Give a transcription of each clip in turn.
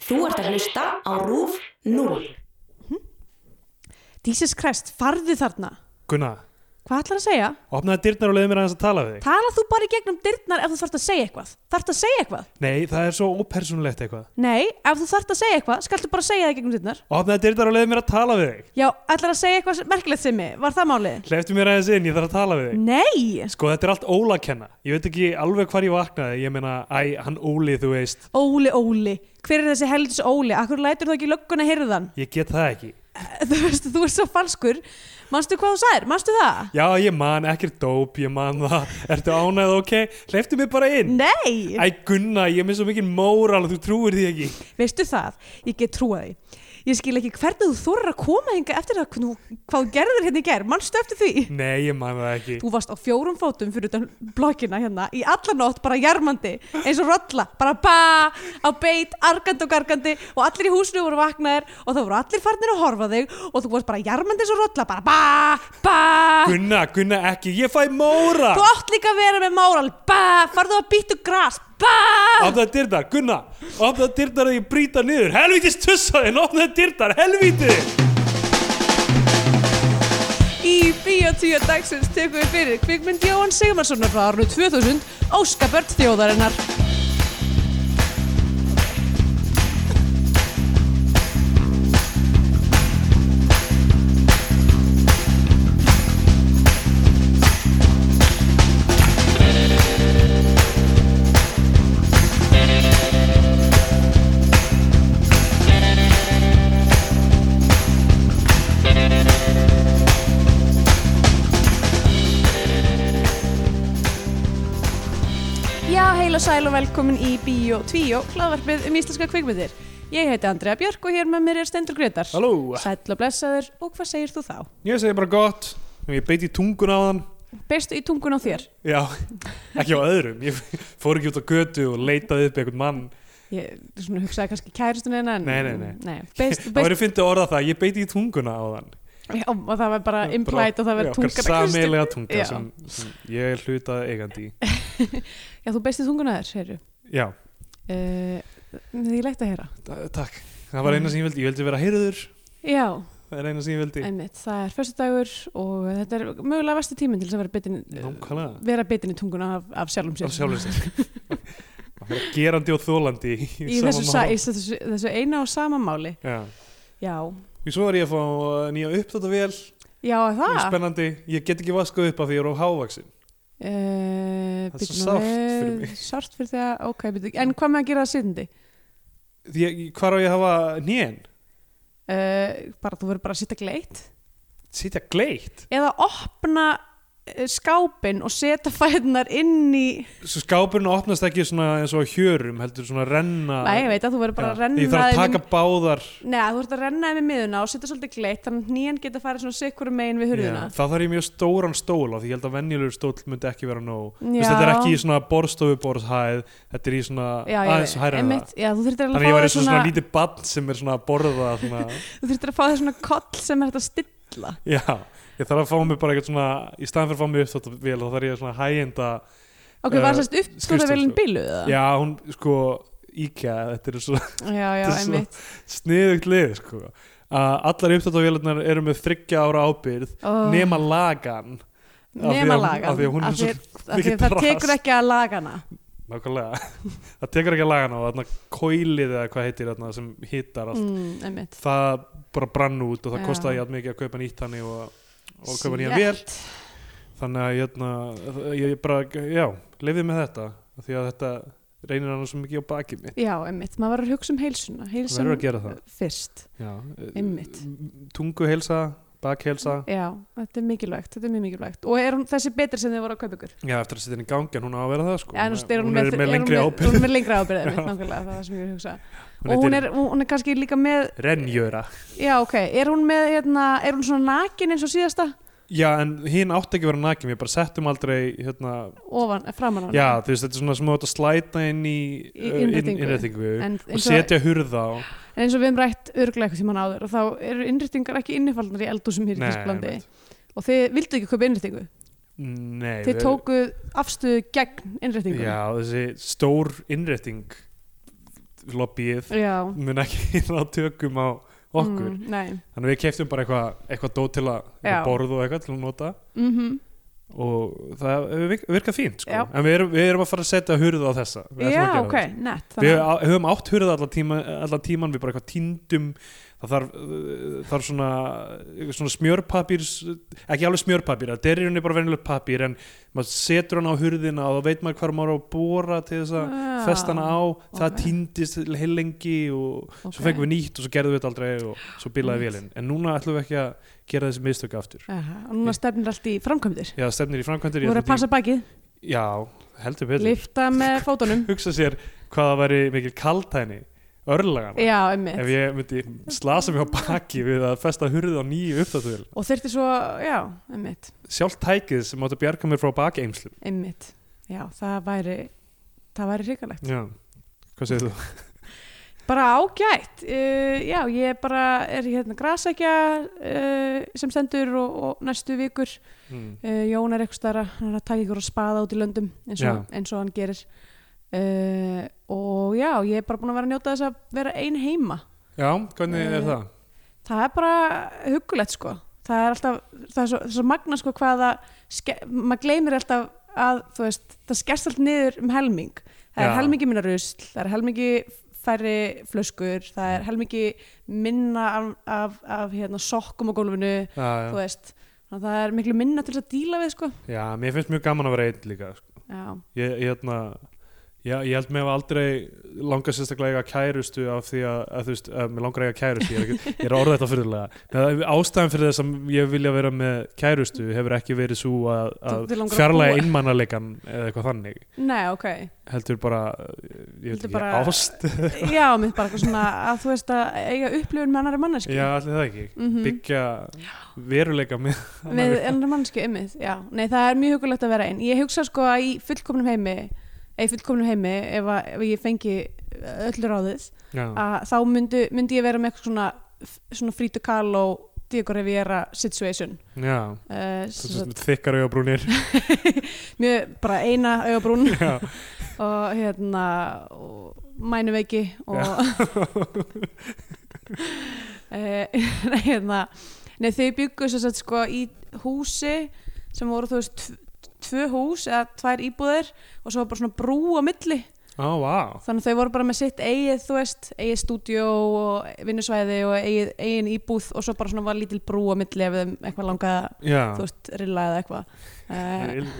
Þú ert að hlusta á RÚF 0. Jesus Christ, farðu þarna Gunna, Hvað ætlar að segja? opnaði dyrnar og leiði mér aðeins að tala við þig Tala þú bara í gegnum dyrnar ef þú þarft að segja eitthvað Þarft að segja eitthvað? Nei, það er svo ópersonlegt eitthvað Nei, ef þú þarft að segja eitthvað, skaltu bara segja það í gegnum dyrnar Opnaði dyrnar og leiði mér að tala við þig Já, ætlar að segja eitthvað sem- merkilegt sem mig, var það málið? Hleyftu mér aðeins inn, ég þarf að tala við Mm. þig Nei, Sko, þetta er allt Óla að kenna Ég veit ekki alveg hvar ég vaknaði Ég meina, æ, hann Óli, þú veist Óli, Óli Hver er þessi heldis Óli? Akkur lætur þú ekki lögguna heyrðan? Ég get það ekki Þú veist, þú er svo falskur Manstu hvað þú sagðir? Manstu það? Já, ég man, ekkert dóp, ég man það Ertu ánægð, ok? Hleyftu mér bara inn Nei! Æ, Gunna, ég er með svo mikið móral Þú trúir því ekki Veistu það, ég get trúa því Ég skil ekki hvernig þú þorir að koma hinga eftir það hvernig þú- hvað þú gerðir hérna í gerð, mannstu eftir því Nei, ég man það ekki Þú varst á fjórum fótum fyrir utan blokkina hérna í alla nótt bara jarmandi eins og rolla, bara ba á beit, argandi og gargandi og allir í húsinu voru vaknaðir og það voru allir farnir að horfa á þig og þú varst bara jarmandi eins og rolla, bara ba, ba Gunna, Gunna, ekki, ég fæ móra Þú átt líka að vera með máral, ba farðu að býttu gras, ba Opnaði dyrnar, Gunna Opnaði dyrnar að ég brýta niður Helvítis tussaðin, opnaði dyrnar, helvíti Í Bíotíu dagsins tekum við fyrir kvikmynd Jóhann Sigmarssonar frá árnu 2000 Óskabörn þjóðarinnar Já, heil og sæl og velkomin í Bíotvíó, hlaðvarpið um íslenska kvikmyndir Ég heiti Andrea Björk og hér með mér er Stendur Gretar Halló. Sæll og blessaður og hvað segir þú þá? Ég segi bara gott Ég beiti tungun á þann Beistu í tungun á þér? Já, ekki á öðrum Ég fór ekki út á götu og leitaði upp einhvern mann Ég svona, hugsaði kannski kæristun en Nei, nei, nei. nei. Beist, Það beist, verið fyndið að orða það, ég beiti í tunguna á þann já, og það var bara implæt og það var Já, tungan Okkar sameilega tunga Já. sem, sem ég er hlutað eigandi í. Já, þú beist í tungun á þér, segirðu Já, uh, Því lægt að heyra ta- takk Það var eina sem ég vildi, ég vildi vera heyrður Já, Það er eina sem ég vildi Einmitt, það er föstudagur og þetta er mögulega vesti tíminn til þess að vera bitin, Nákvæmlega, vera bitin í tunguna af, af sjálfum sér. af sjálfum sér Að vera Gerandi og þólandi í, Í sama þessu, sa, máli. í þessu, þessu eina og sama máli. Já. Já, Því svo er ég að fá uh, nýja uppdatavél, já er það er það. spennandi, ég get ekki vaskuð upp af því ég er á hávaksin. Uh, Það er svo sárt fyrir mig. Sárt fyrir því að, ok, bitu, en hvað með að gera það sindi? Því ég, hvar á ég að hafa nýjan? Uh, bara þú verður bara að sitta gleitt. Sitja gleitt? Eða opna eh, skápinn og setja fæðunar inn í Svo skápurinn opnast ekki svona eins og á hjörum, heldur svona renna. Nei, ég veit að þú verður bara að renna Ah. Ég þarf að þeim í- taka báðar. Nei, þú verður að renna þeim í miðuna og setja svolítið gleitt þannig að nýjan geta farið svona sikkur megin við hurðina Já, Það þarf ég mjög stóran stól á því ég held að venjulegur stól myndi ekki vera nóg. Þú Já. Veist, þetta er ekki í svona borðstofuborðshæð, þetta er í svona já, já, aðeins hærra en það. einmitt, já, þú þurftir Þannig alveg að fá ég var þér eins og svona, svona lítið barn sem er svona að borða svona, þú þurftir að fá þér svona koll sem er hægt að stilla já, ég þarf að fá mér bara eitthvað svona, í staðan fyrir að fá mér uppþáttavél þá þarf ég svona hæginda ok, var Eh, sérst uppskóðavelin skrifstofu. bíluð eða? Já, hún sko IKEA, þetta er svo já, já, þetta er svo- einmitt sniðugt lið sko. að allar uppdatavélarnar eru með þryggja ára ábyrð Ó. nema lagan af því nema að- lagan af því að hún er svo að því mikið að það drast. tekur ekki að lagana nákvæmlega, það tekur ekki að lagan á þarna kóilið eða hvað heitir þarna sem hittar allt, mm, einmitt það bara brann út og það Já. kostaði játn mikið að kaupa nýtt hannig og, og kaupa nýja vel Sjett. þannig að hérna, ég bara, já, lifið með þetta af því að þetta reynir hann svo mikið á bakið mitt já, einmitt, maður var að hugsa um heilsuna verður að heilsun gera það fyrst Já, eh, Einmitt. m- Tunguheilsa, bakheilsa já, þetta er mikilvægt, þetta er mjög mikilvægt og er hún þessi betri sem þið voru að kaupa ykkur Já, eftir að setja henni í gangi en hún á að vera það sko Já, en þú veist, er hún er með lengri er hún með- ábyrð hún er með lengri ábyrð, einmitt, Já. nákvæmlega, það var sem ég var að hugsa Hún og hún heitir er, hún er kannski líka með Renjöra já, ok, er hún með, hérna, er hún svona nakin eins og síðasta Já, en hinn átti ekki að vera nakin Við bara settum aldrei hérna ofan, framan á hana Já, þú veist, þetta er svona sem þú átt að slæta inn í Í uh, inn- innréttingu. innréttingu en, og eins og, setja hurða á en eins og við hefum rætt örglega eitthvað tíma áður og þá eru innrýtingar ekki innifaldnar í eldúsum hér í Nei, Þísklandi einmitt. og þið vildu ekki köpa innrýtingu Nei þið við- tókuð afstöðu gegn innrýtingu Já, þessi stór innrétting lobbyið já mun ekki ná tökum á okkur mm, nei þannig að við keftum bara eitthvað eitthvað dót til að Já. eitthvað borð og eitthvað til að nota mm og það hefur virk- virkað fínt sko. Já. en við erum, við erum að fara að setja hurð á þessa Við ætlum að já gera ok, nett Við á- höfum átt hurð allan tíma, alla tíman við bara eitthvað týndum það þarf, uh, þarf svona, eitthvað svona smjörpapír ekki alveg smjörpapír, það er í rauninni bara venjulegt papír en maður setur hann á hurðina og þá veit maður hvað maður á að bóra til þess að Já, festa hann á, það Ah, ok. týndist heil lengi og ok. svo fengum við nýtt og svo gerðum við þetta aldrei og svo bilaði Einmitt. vélinn en núna ætlum við ekki að gera þessi mistök aftur Aha, og núna stefnir allt í framkvæmdir Já, stefnir í framkvæmdir Þú ég voru ætla að passa bakið, ekki- Já, heldur betur lifta með fótunum Hugsa sér hvað það væri mikil kaltæni örlagan Já, ef emmitt ég myndi slasa mig á baki við að festa hurðið á nýju uppdáttuvel Og þurfti svo, já, emmitt sjálf tækið sem áttu að bjarga mér frá bakeimslum Emmitt, já, það væri það væri hrikalegt já, hvað segir þú? Bara ágætt, uh, já, ég bara er hérna grasækja uh, sem stendur og, og næstu vikur Mm. uh, Jón er eitthvað stara, hann er að taka ykkur að spaða út í löndum eins og, eins og hann gerir uh, og já, ég er bara búin að vera að njóta þess að vera ein heima já, hvernig er Eh, það? það er bara hugulegt sko það er alltaf, það er svo, svo magna sko hvaða, ske, maður gleymir alltaf að þú veist, það skerst allt niður um helming, það er Já. helmingi minna rusl það er helmingi færri flöskur það er helmingi minna af, af, af hérna, sokkum á gólfinu, þú Já, já. veist Þannig að það er miklu minna til þess að díla við sko já, mér finnst mjög gaman að vera einn líka sko. já, ég, ég, hérna, já, ég held mér að aldrei langa sérstaklega að eiga kærustu af því að, að þú veist, að mér langar að eiga kærustu ég er, ekki, ég er orðið þetta fyrirlega Með- ástæðan fyrir þess að ég vilja vera með kærustu hefur ekki verið svo að, Þú- að þú langar að fjarlæga búa. einmannalegan eða eitthvað þannig nei, ok heldur bara, ég veit Heldur ekki, bara- ást já, mitt bara eitthvað svona að þú veist að eiga upplifun með Mhm. annari manneski já, allir það ekki Mm. byggja veruleika með með ennra mannsku ymmið, já nei það er mjög hugulegt að vera einn ég hugsa sko að í fullkomnum heimi eða í fullkomnum heimi ef, að, ef ég fengi eh, öllu ráðið já, að þá myndi, myndi ég vera með eitthvað svona, svona frítu kall og Diego Rivera situation já uh, þú veist með þykkar augabrúnir mjög bara eina augabrún Já. og hérna og mænuveiki og Eh, nei, hérna nei þau byggu sem sagt sko í húsi sem voru þú veist tv- tvö hús eða tvær íbúðir og svo var bara svona brú á milli á, vá, þannig að þau voru bara með sitt eigið þú veist, eigið stúdíó og vinnusvæði og eigið, eigin íbúð og svo bara svona var lítil brú á milli ef þeim eitthvað langaði að, já þú veist, rilla eða eitthvað uh,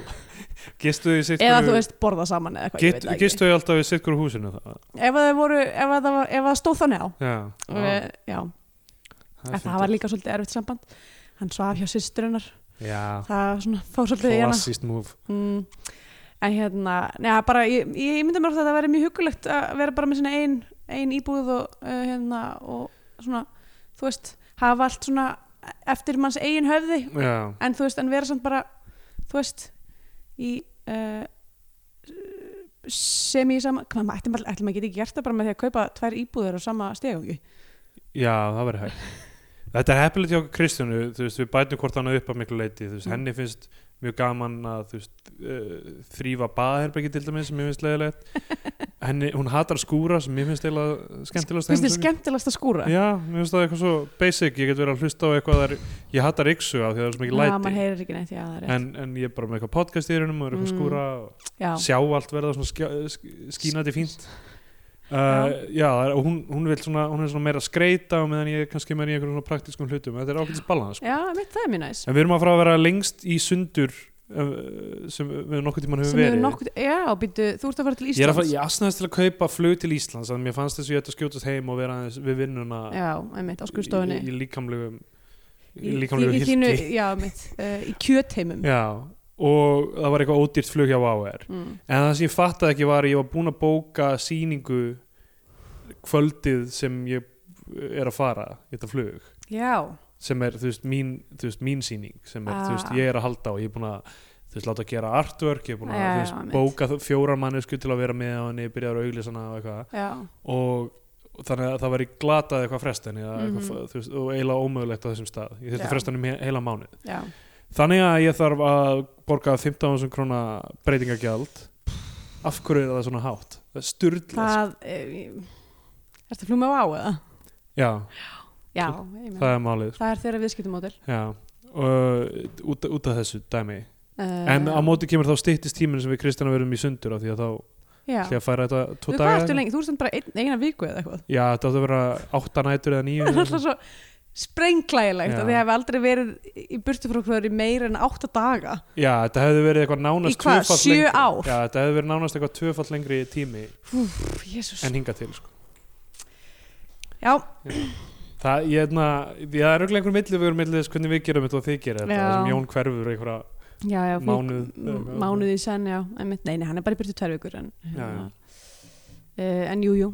gistu þau í sitt eða þú hvoru- veist borða saman eða eitthvað, Git- ég veit það ekki gistu þau alltaf í sitt hverju húsinu það? ef að það voru, ef að það, var, ef að það stóð þannig á já, og, eh, já, já, það en er það var líka svolítið erfitt samband hann svaf hjá systurinnar fyndið. já, það var svona fór svolítið í hana klassist move mm, en hérna neða, bara, ég, ég myndi mér að þetta verið mjög hugulegt að vera bara með svona ein, ein íbúð og, uh, hérna, og svona þú veist, hafa allt svona eftir manns eigin höfði já, en þú veist, en vera samt bara þú veist, í uh, sem í sama hvað maður ætti maður, ætti maður geti ekki gert það bara með því að kaupa tvær íbúður á sama stegungi já, það verður hægt þetta er heppilegt hjá Kristjánu þú veist, við bætum hvort hann upp að miklu leiti þú veist, Mm. henni finnst mjög gaman að þú veist, uh, þrýfa baðherbyggi til dæmis sem ég finnst leiðilegt henni, hún hatar skúra sem ég finnst eiginlega skemmtilegast finnst þið skemmtilegast að skúra já, mér finnst það eitthvað svo basic ég get verið að hlusta á eitthvað þar ég hatar yksu af því að það er svo mikið Já, maður læti heyrir ekki neitt, já, það er rétt. en, en ég er bara með eitthvað podcast í hérunum og er eitthvað Mm. skúra og já, sjá allt verða svona skjá, eh, sk- skínandi fínt Uh, já, það er- og hún, hún vil svona, hún er svona meira skreita og meðan ég er kannski meira í einhverjum svona praktískum hlutum, þetta er ákveðtis balans já, mitt það er mjög næs. En við erum að fara að vera lengst í sundur uh, sem við nokkuð tímann höfum Sem verið. hefur nokkuð, já, býttu, þú ert að fara til Ég er að Íslands. fara, ég asnaðist til að kaupa flug til Íslands en mér fannst þess að ég ætti að skjótast heim og vera aðeins við vinnuna Já, einmitt, á í, skurðstofunni. í líkamlegum í Í- líkamlegu í- í þínu- hilti. Já, einmitt, uh, í kjötheimum. Já, og það var eitthvað ódýrt flug hjá AR. Mm. En það sem ég fattaði ekki var að ég var búin að bóka sýningu kvöldið sem ég er að fara í þetta flug Já, sem er, þú veist, mín, þú veist, mín síning sem er, þú veist, Ah. ég er að halda á ég er búin að, þú veist, láta að gera artwork ég er búin að, Já, þú já, veist, einmitt. bóka þ- fjórar mannesku til að vera með á henni, byrjaður að auglýsa hana og eitthvað já, og og þannig að það væri glatað eitthvað frestan eða eitthvað, Mhm. þú veist, og eiginlega ómögulegt á þessum stað ég þurfti Já. frestan um he- heila mánuð já. þannig að ég þarf að borga 15.000 króna breytingagjald af hverju er það svona hátt það er styrla Það, eh, Ertu að flug með á eða? já, Já, ég meina. það er málið Það er þeirra viðskiptumódel. já, og út, út af þessu dæmi Eh, en á móti kemur þá styttist tíminn sem við Kristjana verðum í sundur af því að þá Já. ætla ég að færa þetta Þú, tvo hvað daga ertu eða- lengi? Þú ert samt bara ein, eina viku eða eitthvað. já, þetta áttu að vera átta nætur eða Það er alltaf nýju svo sprenglægilegt Já. að þið hefur aldrei verið í burtu frá hverju meira en átta daga. já, þetta hefði verið eitthvað Í nánast hvað, tvöfalt sjö lengri- ár? já, þetta hefði verið nánast eitthvað tvöfall lengri tími Pff, Jésús. en hinga til sko. Já, það, ég hefna, ég það er auðvitað einhver millivegur millis hvernig við gerum þetta og þið gerum þetta Já. það sem Jón hverfur einhverja já, já. fólk- mánuð eða m- eitthvað. Mánuð í senn, já. einmitt. Nei, nei, hann er bara í burtu tvær vikur. En, Já, já. Uh, en jú, jú.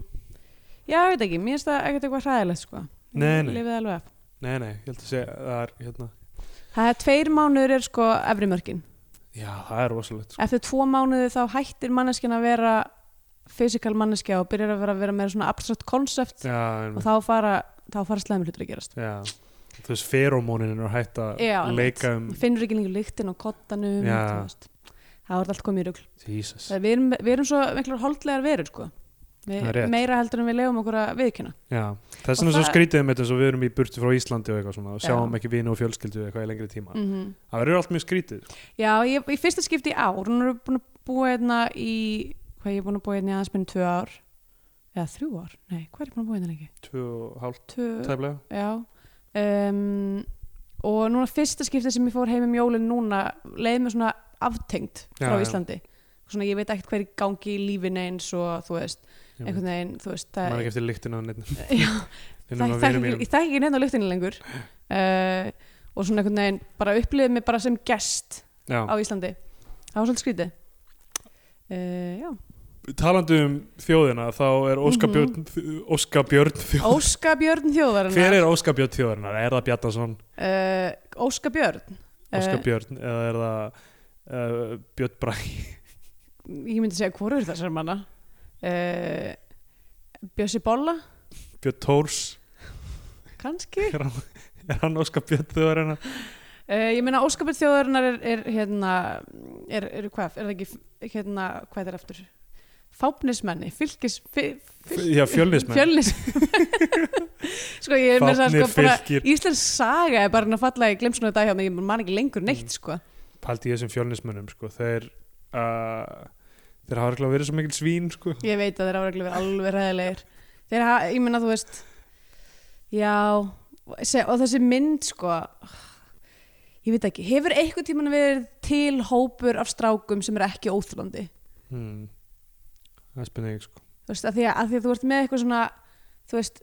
Já, ég veit ekki. Mér finnst það ekkert eitthvað hræðilegt, sko. Nei, nei. Lifið alveg af. nei, nei, ég held að segja, það er hérna, Það er tveir mánuður er sko efri mörkin. já, það er rosalegt sko. Eftir tvo mánuði þá hættir manneskjan að vera fysikal manneskja og byrjar að vera, vera meira svona abstrakt konsept já, og en, þá fara, þá fara slæmi hlutur að gerast. já, þú veist, feromónin er að hætta að Já, leika um Finnur ekki lengur lyktin og kottanum Já. þú veist. Það var allt komið í rugl. Jesus, Það- Við erum, við erum svo miklar holdlegar verur sko. Það er Við, rétt. meira heldur en við legum okkur að viðkynna. já, Og þess vegna svo það- skrítið um þetta eins og við erum í burti frá Íslandi og eitthvað svona og Já. sjáum ekki vini og fjölskyldu eitthvað í lengri tíma Mm það verður allt mjög skrítið sko. Já, ég, ég fyrsta skipti í ár. Hún er búin að búa hérna í, hvað ég er búin að búa hérna í aðeins minni tvö ár? Eða þrjú ár? Nei, hvað er ég búin að búa hérna lengi? tvö og hálft Tvö, tæflega Já um, Og núna fyrsta skiptið sem ég fór heim um jólin núna leiði mér svona aftengt Já, frá já. Íslandi Svona ég veit ekkert hver í gangi í lífin eins og þú veist, Ég einhvern veginn þú veist, það, maður ekki eftir lyktina af neinni- já, neinum það, af það, vinum ekki, mínum. ég þekki ekki neitt á lyktinu lengur uh, og svona einhvern veginn bara upplifið mig bara sem gest Já. á Íslandi það var svolítið skrítið uh, Já, talandi um þjóðina þá er Óskar Mhm. Björn, Óskar Björn þjóð, Óska Björn þjóðarinnar hver er Óskar Björn þjóðarinnar? Er það Bjarnason, Uh, Óska Björn Óskar Eh, Björn eða er það uh, Björn Bræ ég myndi segja hvorur þessar manna uh, Bjössi Bolla Björn Tórs kannski er hann, er hann Óskar Björn þjóðarinnar? uh, ég meina óskapur þjóðarinnar er, er hérna er, er hvað, er það ekki hérna, hvað er aftur fápnismenni, fylgis fyl, Já, fjölnismenn fjölnis sko ég er með það Fáfnir, sko bara fylkir. Íslands saga er bara hann að falla í glemsuna dag hjá mig, ég man ekki Mm. lengur neitt sko paldi ég þessum fjölnismennum sko. þeir uh, þeir hafa örugglega verið svo mikil svín sko. ég veit að þeir ára verið alveg ræðilegir þeir hafa, ég meina þú veist já se- og þessi mynd sko ég veit ekki, hefur einhvern tímann verið til hópur af strákum sem er ekki óþlandi hmm. það er spennið sko. þú veist, að því að, að því að þú ert með eitthvað svona þú veist,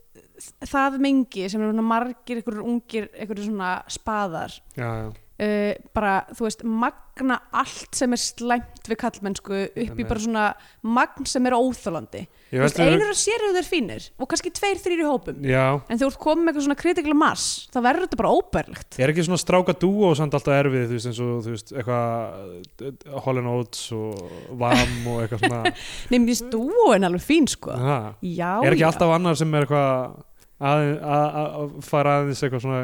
það mengi sem er svona margir, einhverjur ungir einhverjur svona spaðar já, já. uh, bara, þú veist, magna allt sem er slæmt við kallmennsku upp í Einmitt. bara svona magn sem er óþlandi Ég Þú veist, velti- einur að sér eru þeir fínir og kannski tveir, þrýr í hópum já en þú ert komið með eitthvað svona kritiklega mass þá verður þetta bara óbærlegt Er ekki svona stráka dúo samt alltaf erfið, þú veist, eins og, þú veist, eitthvað eh, Holland Oates og Vam og eitthvað svona Nei, mér finnst dúin alveg fín sko Aha. Já, Er ekki já. alltaf annar sem er eitthvað að, að, að fara aðeins eitthvað svona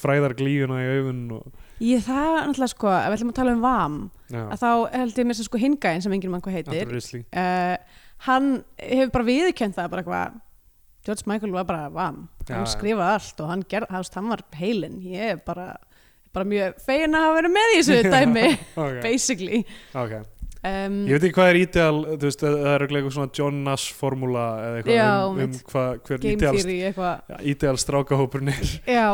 fræðar glíuna í augun og, Ég það er náttúrulega sko, ef við ætlum að tala um VAM já, að þá held ég mér sem sko hingaðin sem enginn mann hvað heitir Andrew Risley uh, hann hefur bara viðurkennt það bara eitthvað George Michael var bara vam Já, hann já. skrifaði allt og hann, ger, hans, hann var heilin ég er bara, bara mjög fegin að hafa verið með í þessu dæmi okay. basically Okay. um, Ég veit ekki hvað er ídeal, þú veist, það er örugglega eitthvað svona John Nash formúla eða eitthvað Já, um, um mitt. hvað, hver game ídeal, theory Sko. eitthvað ídeal strákahópurinn er já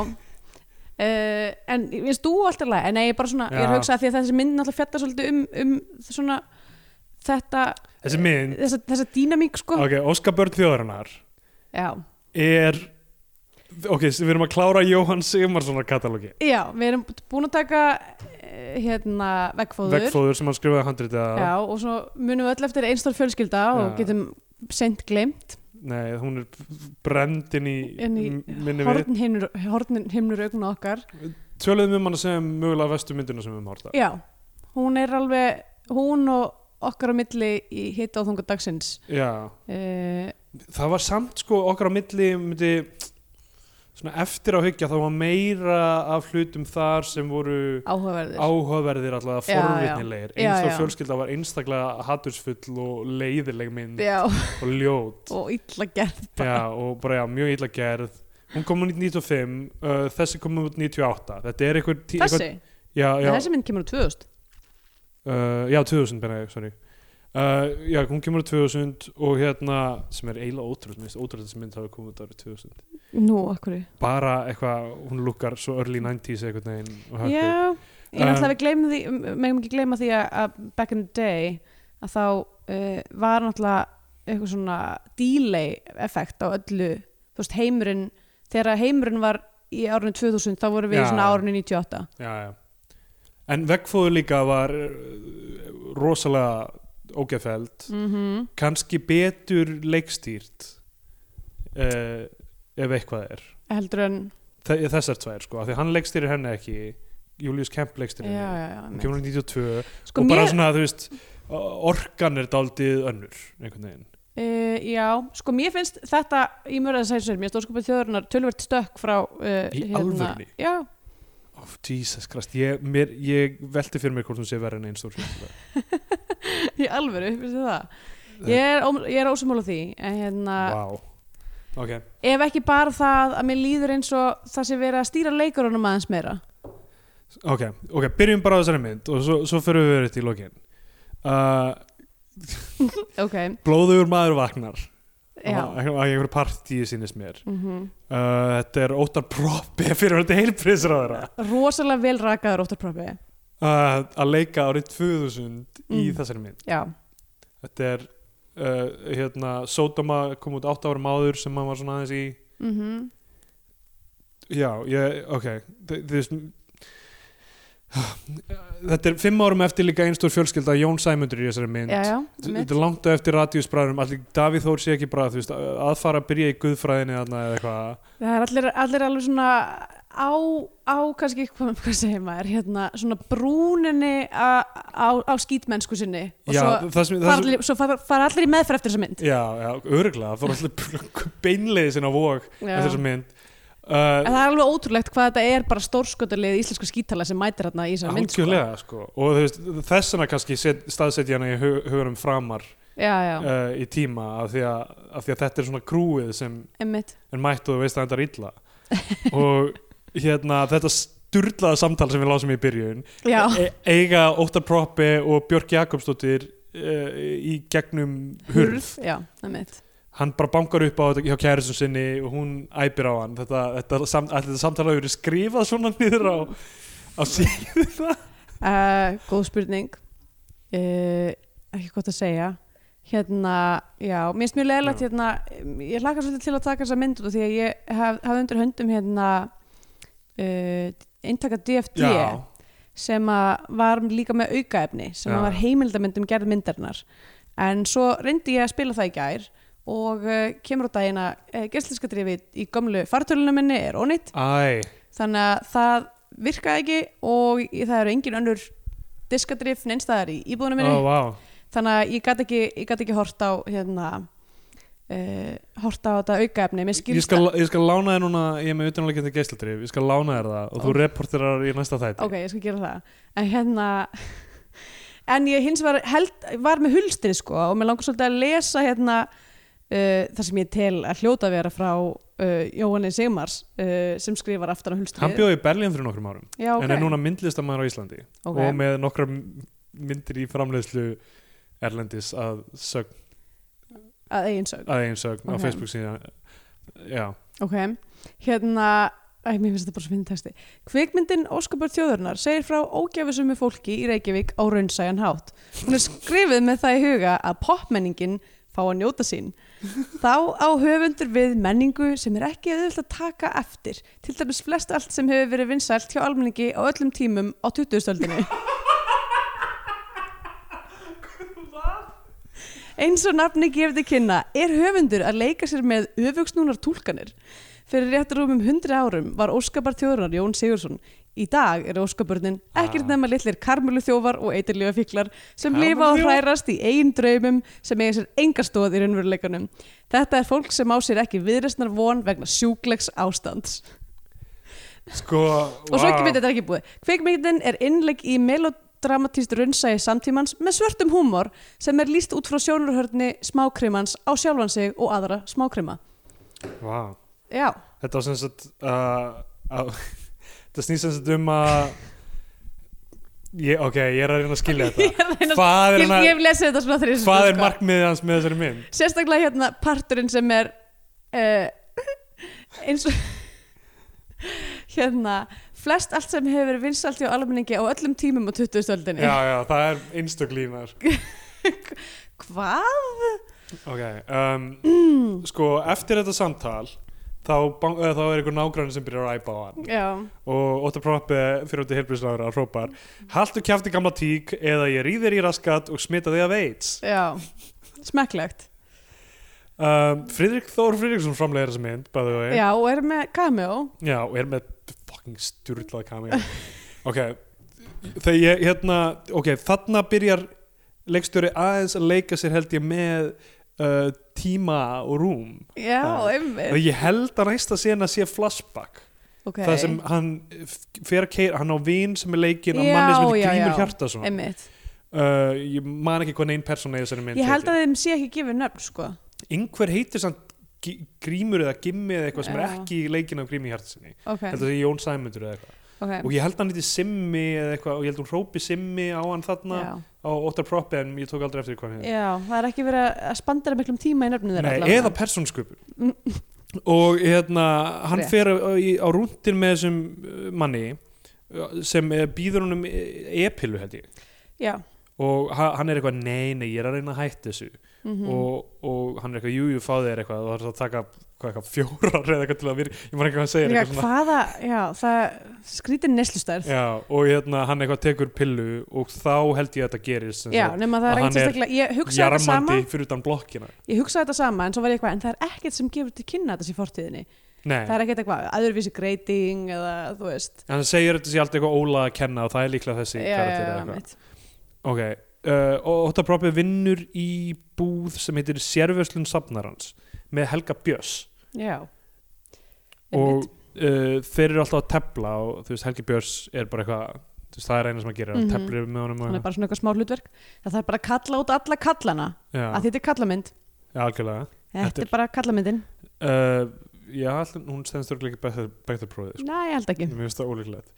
Uh, en ég finnst þú alltaf læg en nei, ég, er bara svona, ég er Já. að hugsa að því að þessi mynd alltaf fjallar svolítið um, um svona, þetta eh, Þessi mynd, þessa, þessa dýnamík sko ok, Óskar Börn Þjóðarinnar já. er ok, s- við erum að klára Jóhann Sigmarssonar katalógi já, við erum búin að taka eh, hérna vegfóður vegfóður sem hann skrifaði handrita Já, og svo munum við öll eftir einstar fjölskylda og Já. getum sent glemt nei, hún er brend inn í, inn í m- minni við horn himnur, horn himnur augna okkar. töluðum um hann sem mögulega vestu myndina sem við höfum horta Já, hún er alveg, hún og okkar á milli í hita á þunga dagsins. já, Uh, það var samt sko okkar á milli myndi svona eftir á hyggja þá var meira af hlutum þar sem voru áhugaverður áhugaverðir alltaf Já, já. forvitnilegir Já, eins og já. fjölskylda var einstaklega hatursfull og leiðileg mynd já, og ljót og illa gerð bara. já, og bara já, mjög illa gerð hún kom út 95, uh, þessi kom út 98 þetta er einhver tí- þessi, einhver- já, já, þessi mynd kemur úr 2000 uh, já, 2000 bena ég, sorry Uh, já, hún kemur á 2000 og hérna, sem er eiginlega ótrúð minnst ótrúð þessi mynd hafi komið út árið 2000 nú, akkur bara eitthvað, hún lukkar svo early 90s eitthvað neginn og hökkur. já, ég Um, náttúrulega við gleymum því megum ekki gleyma því að, að back in the day að þá uh, var náttúrulega eitthvað svona delay effekt á öllu þú veist, heimurinn, þegar heimurinn var í árunni 2000, þá vorum við Já. í svona árunni 98 já, já. En veggfóður líka var uh, rosalega ógeðfæld, mm kannski betur leikstýrt uh, ef eitthvað er heldur en Þe- þessar tvær sko, af því að hann leikstýrir henni ekki Julius Kemp já, leikstýrir henni já, já, hún einmitt. kemur hún 92 sko og bara mér, svona, þú veist orkan er daldið önnur einhvern veginn, uh, já, sko mér finnst þetta í mörða að segja sér, mér stóðskupið þjóðurinnar tölvert stökk frá uh, Í alvörunni? já, oh, Jesus Christ ég, mér, ég velti fyrir mér hvort hún sé verið en einn stór fjölskylda. í alvöru, finnst þið það Það- ég er, óm- ég er ósumála því en hérna, wow ok, ef ekki bara það að mér líður eins og það sé verið að stýra leikurunum aðeins meira Ok, ok, byrjum bara á þessari mynd og svo, svo fyrir við verið til lokin uh, ok, Blóðugur maður vaknar já á á einhverju partíi sínist mér mm uh, Þetta er óttar proppi fyrir þetta heilprisráðara rosalega vel rakaður óttarprofi uh, að leika árið 2000 í Mm. þessari mynd já, Þetta er uh, hérna, Sódoma kom út 8 ára máður sem hann var svona aðeins í mm Já, ég, ok Þi- Þú veist Þetta er fimm árum eftir líka einstór fjölskylda Jón Sæmundur í þessari mynd já, já Þetta einmitt. er langt á eftir radíusbræðurum allir Davíð Þór sé ekki bara þú veist, aðfara að byrja í guðfræðinni þarna eða eitthvað það er allir, allir alveg svona á, á kannski, hvað, hvað segir maður hérna, svona brúninni a, á, á skítmennsku sinni og Já, svo það sem, fara það sem, allir, svo fara, fara allir í meðferð eftir þessa mynd já, já, örgulega það fór allir beinleiði sinna vók já. þessar mynd En uh, það er alveg ótrúlegt hvað þetta er bara stórskotarlið íslensku skítala sem mætir hérna í þessari mynd sko. algjörlega sko. og þú veist, þessuna kannski set, staðsetja hana í hu- huganum framar Já, já, uh, í tíma af því, að, af því að þetta er svona krúið sem emmitt er mætt og þú veist að þetta er illa og hérna þetta sturlaða samtal sem við lásum í byrjun Já, e eiga Óttar Proppi og Björk Jakobsdóttir uh, í gegnum hurð Já, emmitt hann bara bankar upp á þetta hjá kærisum sinni og hún æpir á hann þetta, þetta, sam, allir þetta samtala hefur verið skrifað svona niður á, á síðan Uh, góð spurning uh, ekki gott að segja hérna, já, mér finnst mjög leðilegt Já. hérna, ég hlakka svolítið til að taka þessa mynd út af því að ég haf, hafði undir höndum hérna uh, eintaka DFD sem að var líka með aukaefni sem Já. að var heimildamyndum gerð myndarinnar en svo reyndi ég að spila það í gær og uh, kemur á daginn að uh, gæstliska drifið í gömlu fartölunum minni er ónýtt Æ, þannig að það virkaði ekki og ég, það eru engin önnur diskadrif neinstæðar í íbúðunum minni ó, vá þannig að ég gat ekki, ég gat ekki hort á hérna uh, hort á þetta aukaefni mér ég skilst skal, ég skal lána þér núna ég er með utanleikandi geislatrif, ég skal lána þér það og þú Ó. reporterar í næsta þætti ok, ég skal gera það en hérna en ég hins var, held, var með hulstir sko og mér langar svolítið að lesa hérna uh, það sem ég tel að hljóta að vera frá uh, Jóhanni Sigmars uh, sem skrifar aftan á hulstrið hann bjóði í Berlín fyrir nokkrum árum Já, ok. en er núna myndlistamæður á Íslandi Ok. og með nokkra m- myndir í framleiðslu Erlendis að, sög, að eigin sög að eigin sögn á Ok. Facebook síðan já, Ok, hérna Æ, mér finnst þetta bara svo finn texti. Kvikmyndin Óskapur þjóðurnar segir frá ógjafisömu fólki í Reykjavík á raunsæjan hátt. Hún er skrifið með það í huga að popmenningin fá að njóta sín. Þá á höfundur við menningu sem er ekki auðvitað að taka eftir. Til dæmis flest allt sem hefur verið vinsælt hjá almenningi á öllum tímum á 2000-öldinni. Eins og nafni gefur þið kynna er höfundur að leika sér með öfugsnúnar túlkanir. Fyrir réttur um 100 árum var óskapar þjóðurnar Jón Sigursson í Í dag eru óskapurnin ekkert Ah. nema litlir karmöluþjófar og eitirlífa fíklar sem lifa og Karmöluþjófar? hrærast í eigin draumum sem eiga sér engastóð í raunveruleikanum. Þetta er fólk sem á sér ekki viðrestnar von vegna sjúklegs ástands. sko, Og svo ekki veit þetta er ekki búið. Kveikmyndin er innleik í melodramatíst raunsæi samtímans með svörtum húmor sem er líst út frá sjónurhörni smákrimans á sjálfan sig og aðra smákrima. vá. Já, þetta var sem sagt uh, uh, þetta snýst sem sagt um að ég, ok, ég er að reyna að skilja ég þetta er að reyna að... hvað er, Ég, ég hana, hef lesið þetta svona sko. þrjus. hvað er markmiðið hans með þessari mynd sérstaklega hérna parturinn sem er uh, eins og hérna flest allt sem hefur verið vinsalt hjá almenningi á öllum tímum á 20. öldinni já, já, það er einstök línar hvað? ok, um, Mm. sko eftir þetta samtal þá, ban- eða, þá er einhver nágrann sem byrjar að æpa á hann Já, og Óttar Proppe fyrir út í helbriðslára hrópar haltu kjafti gamla tík eða ég rýðir í raskat og smita þig af AIDS já, smekklegt um, Fridrik Þór Fridriksson framlega þessa mynd by the way já, og er með cameo Já, og er með fucking styrlað kamera Ok, þegar ég hérna, ok, þarna byrjar leikstjóri aðeins að leika sér held ég með uh, tíma og rúm já, Já. og einmitt ég held að næsta sena sé flashback okay. það sem hann f- fer að keira, hann á vin sem er leikinn af Já, manni sem er já, Grímur já. Hjartason uh, einmitt ég man ekki hvað neinn persóna í þessari mynd ég held að þeim sé ekki gefið nöfn sko einhver heitir samt G- Grímur eða Gimmi eða eitthvað sem er Já. ekki leikinn af Grími Hjartasinni ok, held að það sé Jón Sæmundur eða eitthvað ok og ég held hann heiti Simmi eða eitthvað og ég held hún hrópi Simmi á hann þarna já. á Óttar Proppi en ég tók aldrei eftir hvað hann já, það er ekki verið að spandera miklum tíma í nöfnum þeirra Nei, allavega. eða persónsköpun og hérna hann Rétt. fer á, í- á rúndin með þessum uh, manni uh, sem eh, býður honum eh, e-pillu held ég já, og ha- hann er eitthvað nei, nei, ég er að reyna að hætta þessu mhm og, og hann er eitthvað, jú, jú, fá þér eitthvað og það er að taka hvað, eitthvað, fjórar eða eitthvað til að virka ég maður ekki hvað hann segir Líka, eitthvað svona hvaða, já, það skrítir neslustærð. Já, og hérna, hann eitthvað tekur pillu og þá held ég að þetta gerist sem Já, sagt, nema það að er hann ekkert er sérstaklega, ég hugsaði þetta sama, jarmandi fyrir utan blokkina ég hugsaði þetta sama, en svo var ég eitthvað, en það er ekkert sem gefur til kynna þessi fortíðinni. Nei, Það er ekkert eitthvað, aðurvísi greiting eða, þú veist. hann segir þetta sé alltaf eitthvað óla að kenna og það er líklega þessi karakter eða eitthvað einmitt. Ok, uh, og Óttar Proppi vinnur í búð sem heitir Sérvöslun Safnarans með Helga Björs Já. og uh, þeir eru alltaf að tefla og þú veist, Helgi Björs er bara eitthvað þú veist, það er eina sem að gera, mm Mhm. -hmm. teflir með honum og Þannig er eitthvað. bara svona eitthvað smá hlutverk. Það þarf bara að kalla út alla kallana, Já, að þetta er kallamynd. ja, algjörlega Þetta Þetta er- er bara kallamyndin. uh, Já, alltaf, hún stendst örglega ekki betur, betur prófið sko. Næ, ég held ekki. Mér finnst það ólíklegt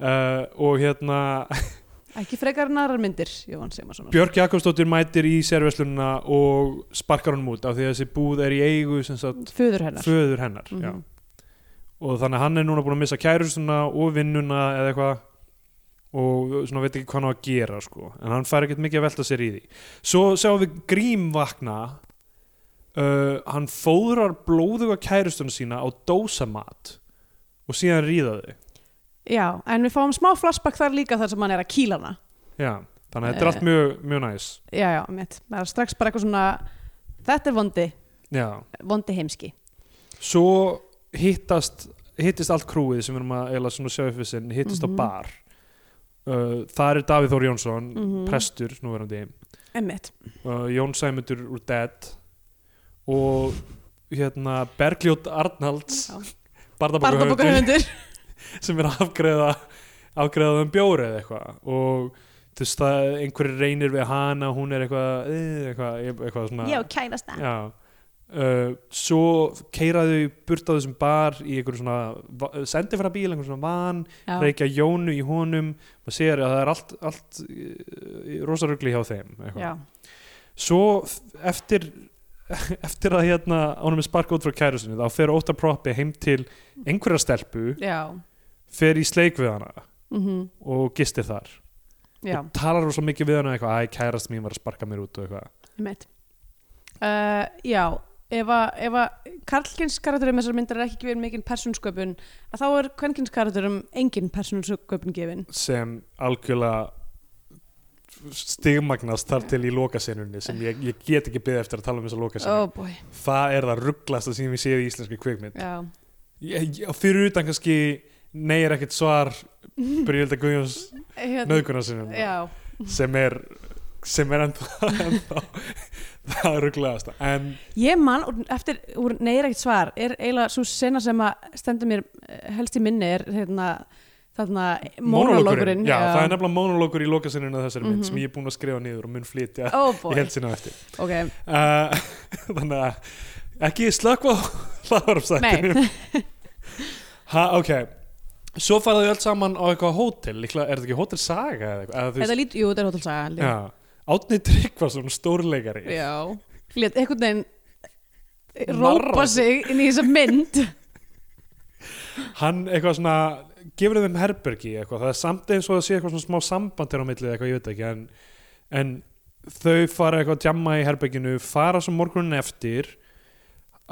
uh, Og hérna Ekki frekar en aðrar myndir, Jóhann Sigmarsson. Björk Jakobsdóttir mætir í sérverslununa og sparkar honum út af því að þessi búð er í eigu sem sagt Föður hennar. föður hennar já. Mhm. og þannig að hann er núna búin að missa kærustuna og vinnuna eða eitthvað og svona veit ekki hvað hann á að gera sko. en hann fær ekkert mikið að velta sér í því svo sjáum við Grím vakna uh, hann fóðrar blóðuga kærustuna sína á dósamat og síðan ríða þau Já, en við fáum smá flashback þar líka þar sem hann er að kýla hana. já, þannig að þetta er allt Eh. mjög, mjög næs já, já, mitt, það er strax bara eitthvað svona þetta er vondi, já vondi heimski svo hittast hittist allt krúið sem við erum að eila svona sjá upp við sinn, hittist Mhm. á bar uh, það er Davíð Þór Jónsson Mhm. prestur núverandi emmitt, uh, Jón Sæmundur úr Dead og hérna Bergljót Arnalds barðabokahöfundur barndabokahöfundur sem er að afgreða afgreðaðum bjóri eða eitthvað og þú veist það einhverjir reynir við hana hún er eitthvað eh, eitthvað, eitthvað svona Já, kærasta. Já Uh, svo keiraðu burt á þessum bar í einhverjum svona sendi frá bíl, einhverjum svona van já, reykja jónu í honum maður sér að það er allt, allt eh, rosa rugli hjá þeim eitthvað. já, svo f- eftir eftir að hérna honum er sparka út frá kærusinu þá fer Óttar Proppi heim til einhverja stelpu já, fer í sleik við hana mhm, og gistir þar já og talar rosa mikið við hana eitthvað, æ kærast mín var að sparka mér út og eitthvað emmitt uh, já, ef að, ef að karlkins karakterum þessar myndar er ekki gefin mikinn persónsköpun, að þá er kvenkins karakterum engin persónsköpun gefin sem algjörlega stigmagnast þar til í lokasenunni sem ég, ég get ekki beðið eftir að tala um þessa lokasenu oh boy, það er það rugglasta sem ég séð í íslenski kvikmynd já, ég, ég, fyrir utan kannski nei er ekkert svar Brynhilda Guðjóns hérna, nöðguna sinni já, sem er sem er ennþá, ennþá það er rugglegasta en Ég man, úr- eftir, úr neyra ekkert svar, er eiginlega svo sena sem að stendur mér eh, helst í minni er hérna, þarna, monolókurinn. já, það er nefnilega monolókur í lokasinninu þessari mynd sem ég er búin að skrifa niður og mun flytja Oh í Mhm. boy, held sinna eftir ok, uh, þannig að ekki slökva á hlaðvarpstættinu nei, ha, ok svo fara þau öll saman á eitthvað hótel Líkla, er þetta ekki hótel saga eða eitthvað eða þú þetta veist- lít, jú, þetta er hótelsaga. held ég. já, Átni Tryggvason stórleikari Já, lét einhvern veginn Marra rópa sig inn í þessa mynd. hann eitthvað svona gefur þeim herbergi eitthvað það er samt eins og það sé eitthvað svona smá samband hér á milli eitthvað, ég veit ekki en, en þau fara eitthvað að djamma í herberginu fara svo morgunin eftir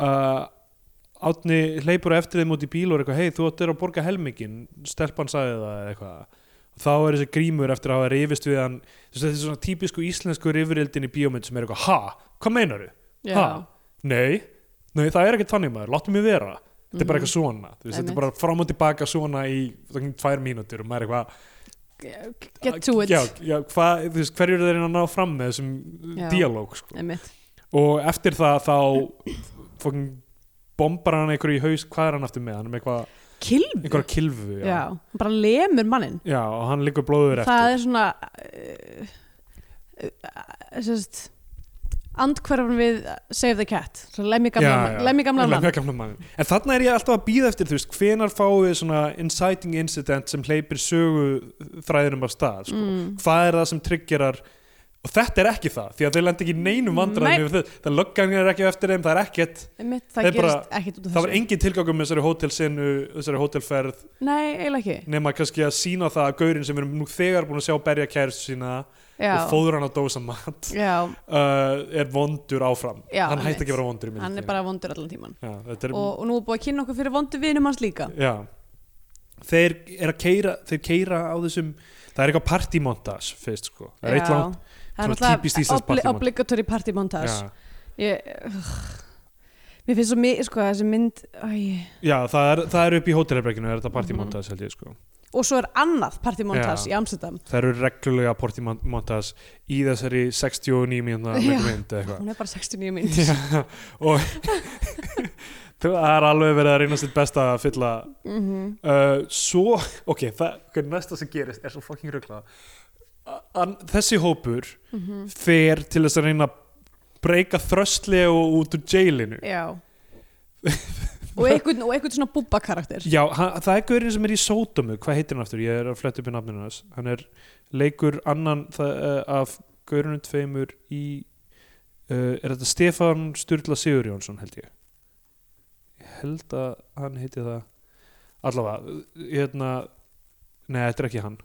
uh, átni hleypur á eftir þeim út í bíl og er eitthvað hei þú áttir að borga helmingin stelpan sagði það eða eitthvað þá er þessi grímur eftir að hafa rifist við hann þessi, þessi svona típisku íslensku rifrildin í bíómynd sem er eitthvað ha, hvað meinaru? Já, ha, nei, nei það er ekkert þannig maður, láttu mig vera þetta er bara eitthvað svona, þú veist, þetta er Mm. Einmitt. bara fram og tilbaka svona í svona, tvær mínútur og maður er eitthvað get to it, já, já, hva, þú veist, hverju eru þeir að ná fram með þessum Já. díalóg sko. einmitt. og eftir það þá fókin bombar hann einhverju í haus hvað er hann aftur með, hann er með eitthvað Kilvi, einhverja kilfu, já, hann bara lemur mannin. já og hann liggur blóður það eftir er svona uh, uh, uh, sérst, andhverfan við Save the Cat Svo lemmi gamla, Já, mann- já. lemmi gamla mann Lemja gamla mann. En þarna er ég alltaf að býða eftir, þú veist, hvenar fáum við svona inciting incident sem hleypir sögu þræðinum af stað, sko. mm. hvað er það sem tryggjarar og þetta er ekki það, því að þeir lenda ekki í neinum Nei. vandræðum yfir þau, það löggan er ekki á eftir þeim, það er ekkert, Einmitt, Það það er gerist ekkert út af það var þessu engin tilgangum með þessari hótelsinu, þessari hótelferð nei, eiginlega ekki nema kannski að sína það að gaurinn sem við erum nú þegar búin að sjá berja kæristu sína já, og fóður hann að dósa mat uh, já, er vondur áfram Já, hann hætti einmitt. ekki að vera vondur í myndinni. hann er bara vondur allan tíman já, þetta er, og, og nú er búið að kynna okkur fyrir vondu vinum hans líka já. þeir er að keira þeir keira á þessum það er eitthvað partymontas fyrst sko það er eitt Já. langt það er svona náttúrulega típist íslenskt obli, partymontage. obligatory party montage já. ég, uh, mér finnst svo mikið sko, þessi mynd æ, já, það er, það er upp í hótelherberginu er þetta partymontas held ég sko og svo er annað party montage Já. í Amsterdam Það eru reglulega portimontas í þessari 69 mínúna Já. mynd eða eitthvað. hún er bara 69 mynd Já, og það er alveg verið að reyna sitt besta að fylla mm uh, svo, ok, það, ok, næsta sem gerist er svo fucking ruglað An- þessi hópur Mhm. fer til þess að reyna að breyka þröstlega út úr jailinu Já og, einhvern, og einhvern svona búba karakter Já, hann, það er gaurinn sem er í Sódómu hvað heitir hann aftur, ég er að fletta upp í nafninu hans hann er leikur annan það, uh, af gaurinu tveimur í uh, er þetta Stefan Sturla Sigurjónsson held ég ég held að hann heiti það allavega, uh, hérna nei, þetta er ekki hann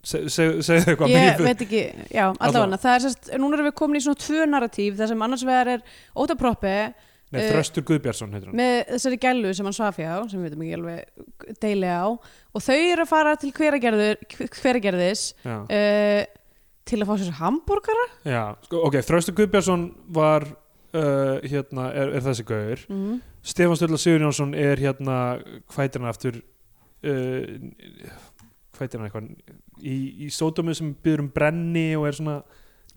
Se- seg- segðu þau eitthvað ég mér- veit ekki, já, allavega það er sérst, núna erum við komin í svona tvö narratív þar sem annars vegar er ótaproppi nei, eh, Þröstur Guðbjörnsson heitir hann með þessari gælu sem hann svaf hjá sem við veitum ekki alveg deili á og þau eru að fara til hveragerður hveragerðis já, uh, til að fá sér hambúrgara já, sko, ok, Þröstur Guðbjörnsson var uh, hérna, er, er þessi gaur mm. Stefán Sturla Sigurjónsson er hérna hvað heitir hann aftur uh, hvað heitir hann eitthvað í, í sódómið sem byrður um brenni og er svona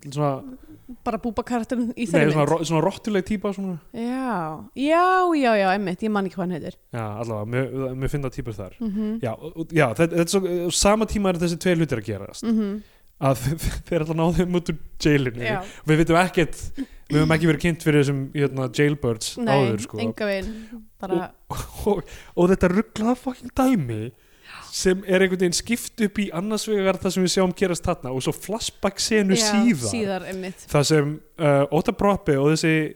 svona, bara búba karakterin í nei, þeirri svona, mynd ro- svona rottuleg típa svona. já, já, já, já, emmitt, ég man ekki hvað hann heitir já, allavega, mér, mér finna típur þar mm -hmm. Mhm. já, og- og- já þetta, þetta er svo, á sama tíma er þessi tvei hlutir að gerast að þeir ætla að ná þeim út úr jailinu Mhm. já, við veitum ekkert, við höfum ekki verið kynnt fyrir þessum hérna, jailbirds nei, áður sko. enga veginn bara og, og þetta rugglaða fokkin dæmi sem er einhvern veginn skipt upp í annars vegar það sem við sjáum gerast þarna og svo flashback senu Já, síðar síðar einmitt það sem uh, Óta Proppi og þessi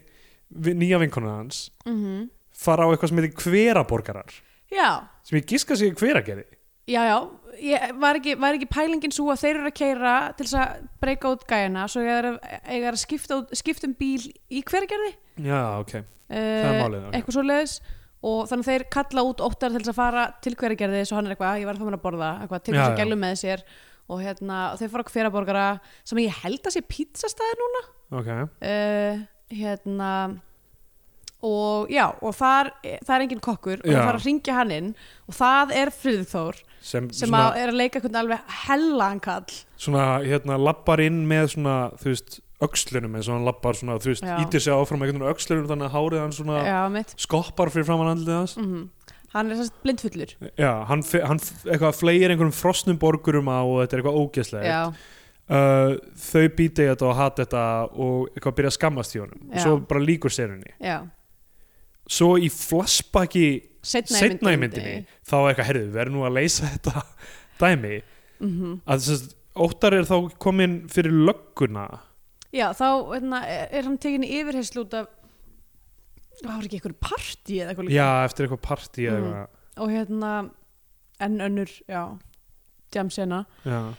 vi- nýja vinkona hans Mhm. fara á eitthvað sem heitir hveraborgarar já, sem ég giska sig hveragerði já, já ég var ekki, var ekki pælingin svo að þeir eru að keira til þess að breyka út gæjana svo ég er að, ég er að skipta, út- skipta um bíl í hveragerði já ok, það er uh, málið okay. eitthvað svo leiðis og þannig að þeir kalla út óttar til þess að fara til hveragerði svo hann er eitthvað, ég var að fá mér að borða eitthvað, til Já, þess að já. gælu með sér og hérna, og þeir fara á hveraborgara sem ég held að sé pizzastæði núna ok, uh, Eh, hérna og já, og þar, það er engin kokkur og Já. það fara að ringja hann inn og það er Friðþór sem, sem svona, að er að leika hvernig alveg hellan kall svona hérna, lappar inn með svona, þú veist, öxlunum eins og hann lappar svona, þú veist, Já. ítir sig áfram með einhvern veginn öxlunum þannig að hárið hann svona já, mitt, skoppar fyrir framann andlið hans mm hann er sérst blindfullur já, hann, fe- hann f- eitthvað fleir einhverjum frosnum borgurum á og þetta er eitthvað ógeðslega já, uh, þau býta í þetta og hata þetta og eitthvað byrja að skammast í honum Já. svo bara líkur sérunni já, svo í flashbacki setna, setna í myndinni þá er eitthvað, herðu, við erum nú að leysa þetta dæmi mm að þess að óttar er þá komin fyrir lögguna já, þá hérna, er, er hann tekin í yfirheyslu út af það var ekki eitthvað partí eða eitthvað líka. já, eftir eitthvað partí eða Mhm. og hérna enn önnur, já, djamsena eitthvað já,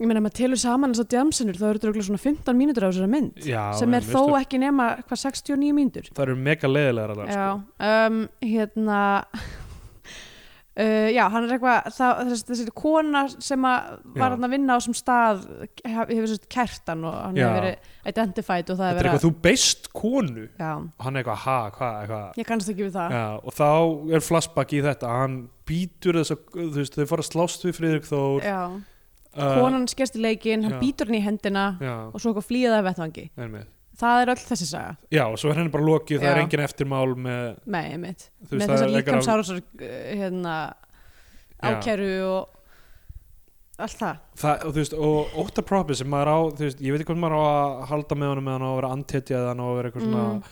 ég meina, ef maður telur saman þess að djamsenur þá eru þetta örugglega svona 15 mínútur á þessari mynd já sem er en þó veistu, ekki nema hvað 69 mínútur það eru mega sko. leðilegar alveg já, um, hérna uh, já, hann er eitthvað það- þessi, þessi kona sem að Já. var hann að vinna á sem stað hef- hefur sérst kert hann og hann Já. hefur verið identified og það þetta hefur er verið eitthvað, þú beist konu já, og hann er eitthvað, ha, hvað, eitthvað ég kannast ekki við það já, og þá er flashback í þetta hann býtur þess að, þú veist, þau fara að slást við Friðrik Þór já. uh, konan skerst í leikinn, hann já. býtur hann í hendina já, og svo eitthvað flýðaði vettvangi einmitt. það er öll þessi saga, já, og svo er henni bara lokið, það Já. er engin eftirmál með, með einmitt þú með þessar veist, það er eitthvað- líkamsárásar uh, hérna, Já. ákæru og allt það Það, og þú veist, og óttar propi sem maður á, þú veist, ég veit ekki hvað maður á að halda með honum með hann á að vera antetja eða hann á að vera eitthvað svona, Mm.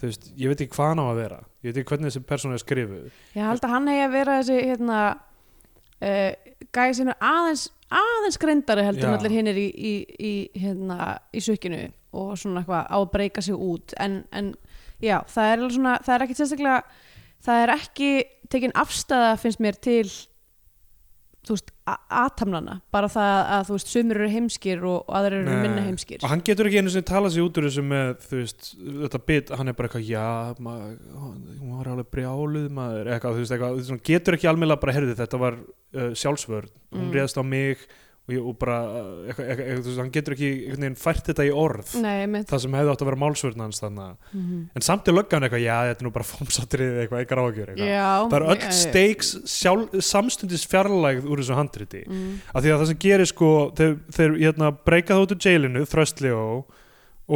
þú veist, ég veit ekki hvað hann á að vera ég veit ekki hvernig þessi persónu er skrifuð ég held að hann hegi að vera þessi hérna, uh, gæði sem er aðeins aðeins greindari heldur en Já. allir hinn er í, í, í, hérna, í sökinu og svona eitthvað á að breyka sig út en, en já, það er, alveg svona, það er ekki sérstaklega það er ekki tekin afstæða finnst mér til þú veist, a- athafnanna bara það að þú veist, sumir eru heimskir og, og aðrir eru Nei. minna heimskir og hann getur ekki einu sinni talað sér út úr þessu með, þú veist, þetta bit hann er bara eitthvað, já, maður hún var alveg brjáluð, maður, eitthvað, þú veist, eitthvað þú veist, hann getur ekki almennlega bara, herði, þetta var uh, sjálfsvörn, hún Mm. réðst á mig og, ég, og bara, uh, eitthvað, eitthvað, eitthvað, þú veist, hann getur ekki einhvern veginn fært þetta í orð Nei, mitt það sem hefði átt að vera málsvörn hans þannig að mm en samt er löggan eitthvað, já þetta er nú bara fómsatriðið eitthvað, eitthvað ráðgjör eitthvað Já það er já, öll steiks sjálf, samstundis fjarlægð úr þessu handriti já. mm. af því að það sem gerir sko þeir, þeir hérna, breyka það út úr jailinu Þröstljó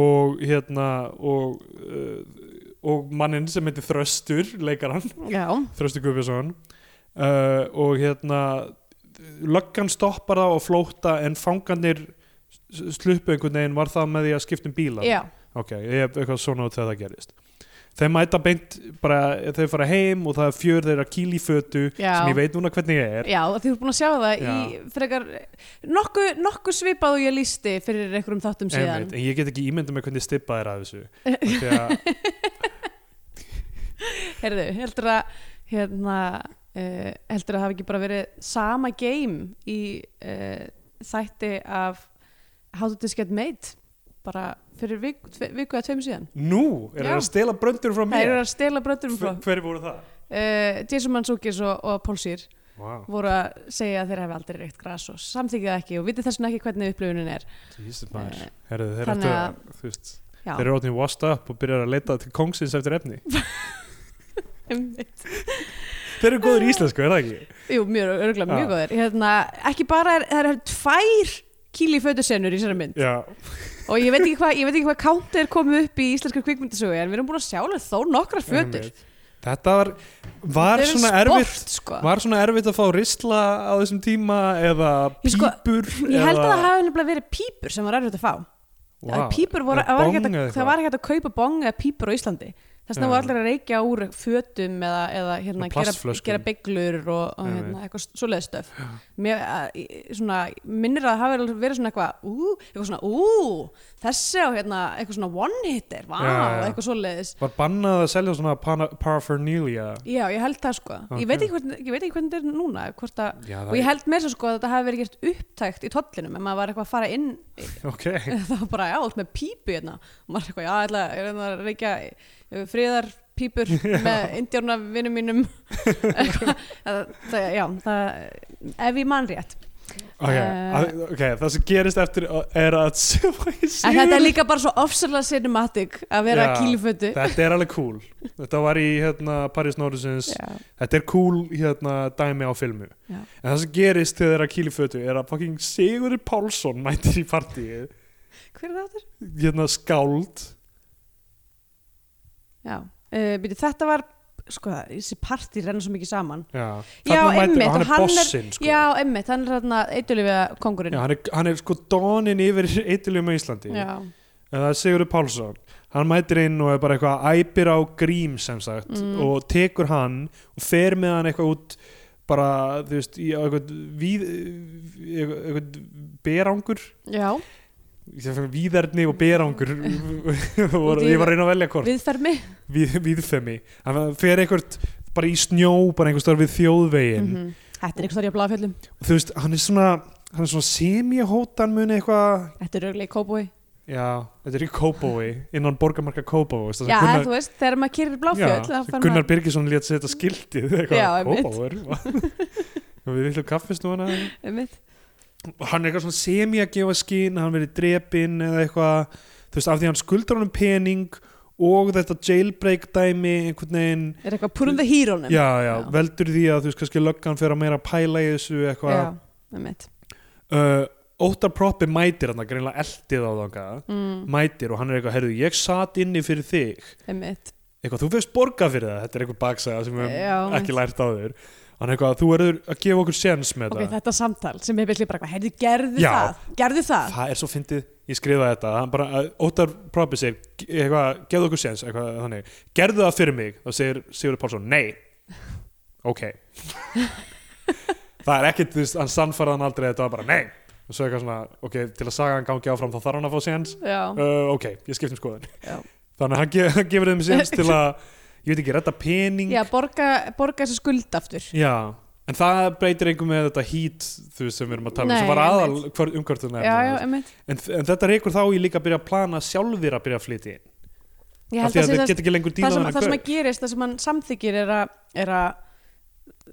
og hérna og, uh, og mannin sem heitir Þröstur leikar hann, Já, Þröstur Guðbjörnsson uh, og hérna löggan stoppar það og flóta en fangarnir sluppu einhvern veginn var það með því að skipta um bíla já, ok, ég hef eitthvað svona út þegar það gerist þeir mæta beint bara, þeir fara heim og það er fjör þeirra kýl í fötu Já. sem ég veit núna hvernig ég er já, þú ert búin að sjá það í frekar, nokku, nokku svipað og ég lísti fyrir einhverjum þáttum síðan Einmitt, en ég get ekki ímyndið með hvernig stippa þeir að þessu Af því að, Heyrðu, heldur að hérna, uh, heldur að hafa ekki bara verið sama game í uh, þætti af How to Get Made bara fyrir viku, tve- viku eða tveim síðan nú er þeir Já. að stela bröndur frá Það mér eru að stela bröndurum frá Hver- hverju voru það? uh, Jason Manzukis og, og Paul Sear Wow, voru að segja að þeir hafi aldrei reykt gras og samþykja það ekki og viti þess vegna ekki hvernig upplifunin er Jesus Eh, maður Herðu, þeir, þannig ættu að, þú veist, Já, þeir eru orðin washed up og byrjar að leita til kongsins eftir efni einmitt. Þeir eru góður í íslensku, er það ekki? Jú, mjög, örgulega mjög Já. góðir hérna, Ekki bara, er, það eru tvær kíli fötusennur í sér mynd Já, og ég veit ekki hvað, ég veit ekki hvað counter komu upp í íslenskar kvikmyndasögu en við erum búin að sjá alveg þó nokkra fötur einmitt. Þetta var, var Þetta er svona sport, erfitt sko. Var svona erfitt að fá risla á þessum tíma eða Ég sko- pípur? Ég held að eða... það hafi nefnilega verið pípur sem var erfitt að fá wow. pípur voru, Eða það var ekki bong hægt eða að- það var ekki hægt að kaupa bong eða pípur á Íslandi þess vegna Já. voru allir að reykja úr fötum eða, eða hérna, Og gera, plastflöskum. gera bygglur og, og Ég hérna, eitthvað svoleið stöf Mér, að, í- svona, minnir að það hafi verið svona eitthvað ú, eitthvað svona ú, þessi og hérna, eitthvað svona one hitter vá, Já, já. eitthvað svoleiðis Var bannað að selja svona pana- paraphernalia Já, ég held það sko. Ok. Ég, veit ekki hvernig, ég veit ekki hvernig þetta er núna. Hvort að, Já, það og ég held með þess að sko að þetta hafi verið gert upptækt í tollinum en maður var eitthvað að fara inn Ok, þá bara, já, allt með pípu hérna. Og maður er eitthvað, já, ég ætla, ég reyna að reykja eh, friðar pípur með indjórna vinnum mínum. Eitthvað. það, það, já, það, ef ég mann rétt. Ok, Eh. að- ok, það sem gerist eftir er að en þetta er líka bara svo ofsalega cinematic að vera Já, að kýlfötu Þetta er alveg cool Þetta var í hérna, Paris Norrisins Já. Þetta er cool hérna, dæmi á filmu Já. En það sem gerist þegar þeirra kýli fötu er að fucking Sigurður Pálsson mætir í partíið hver er það aftur? hérna skáld Já, uh, byrju, þetta var sko, þessi partí renna svo mikið saman Já, Já, Þarna einmitt, og hann og er hann er- bossinn sko. Já, emmitt, hann er þarna eitulifja kongurinn Já, hann, er, hann er sko donin yfir eitilum á Íslandi Já, En það er Sigurður Pálsson Hann mætir inn og er bara eitthvað æpir á grím sem sagt Mm. og tekur hann og fer með hann eitthvað út bara, þú veist, í á eitthvað, víð, eitthvað, eitthvað berangur já, Ég segi fyrir víðerni og berangur voru, ég var að reyna að velja hvort viðfermi við, viðfemi, þannig að fer eitthvað bara í snjó, bara einhver starf við þjóðvegin Mhm. Þetta er eitthvað í að bláfjöllum og þú veist, hann er svona hann er svona semihótan muni eitthvað Þetta er örglega í kóbúi já, þetta er í Kóbói, innan borgarmarka Kóbói veist, það Já, sem Gunnar, þú veist, þegar maður kýrir bláfjöll já, þá sem fer Gunnar maður- Birgisson lét setja skildið Já, eitthvað, einmitt. Kóbói við villu kaffistúana Einmitt. og hann er eitthvað svona semi að gefa skín að hann verið drepinn eða eitthvað þú veist, af því hann skuldar honum pening og þetta jailbreak dæmi einhvern veginn, Er eitthvað púrum það hýrónum já, já, Já. veldur því að þú veist, kannski löggan fyrir að meira pæla í þessu eitthvað, já einmitt. uh, Óttar Proppi mætir hann, greinlega eldið á þangað Mm, mætir og hann er eitthvað, herðu, ég satt inni fyrir þig einmitt. eitthvað, þú fyrst borga fyrir það, þetta er eitthvað baksaga sem við höfum Já. ekki lært á þér hann er eitthvað, þú verður að gefa okkur séns með Ok, þetta þetta samtal sem hefur bara eitthvað, heyrðu, gerðu Já. það Gerðu það það er svo fyndið, ég skrifaði þetta hann bara, að Óttar Proppi segir eitthvað, gefðu okkur séns, eitthvað þannig gerðu það fyrir mig, þá segir Sigurður Pálsson nei, ok það er ekkit þú veist, hann sannfæraðan aldrei, þetta var bara nei og svo eitthvað svona, ok, til að saga hann gangi áfram þá þarf hann að fá séns Já, uh, ok, ég skipt um skoðun Já. þannig að hann, ge hann gefur þeim séns til að ég veit ekki, redda pening já borga, borga þessu skuld aftur Já, en það breytir einhver með þetta hít þú veist sem við erum að tala um, sem Nei, var aðal hver, umhvertun Já, já, einmitt en, en þetta reykur þá í líka að byrja að plana sjálfir að byrja að flytja inn Ég held af að því að sé þetta það get ekki lengur það dílað sem, við það sem þennan að gerist, það sem hann samþykir er að, er að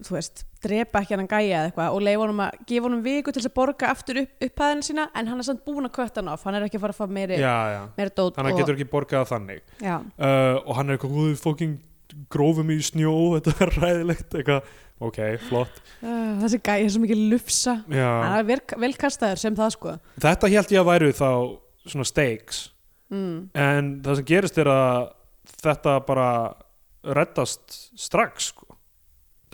þú veist, drepa ekki hann gæja eða eitthvað og leifa honum að gefa honum viku til þess að borga aftur upp, upphæðinu sína en hann er samt búin að kött hann off, hann er ekki að fara að fá meiri, gaur. Já, já, meiri dót þannig að getur ekki borgað þannig já, uh, og hann er eitthvað, hú, fucking grófum í snjó, þetta er ræðilegt eitthvað, ok, flott uh, þessi gæja er svo mikið lufsa hann Já, er vel, vel kastaður sem það sko þetta held ég að væru þá svona stakes mm. en það sem gerist er að þetta bara reddast strax sko.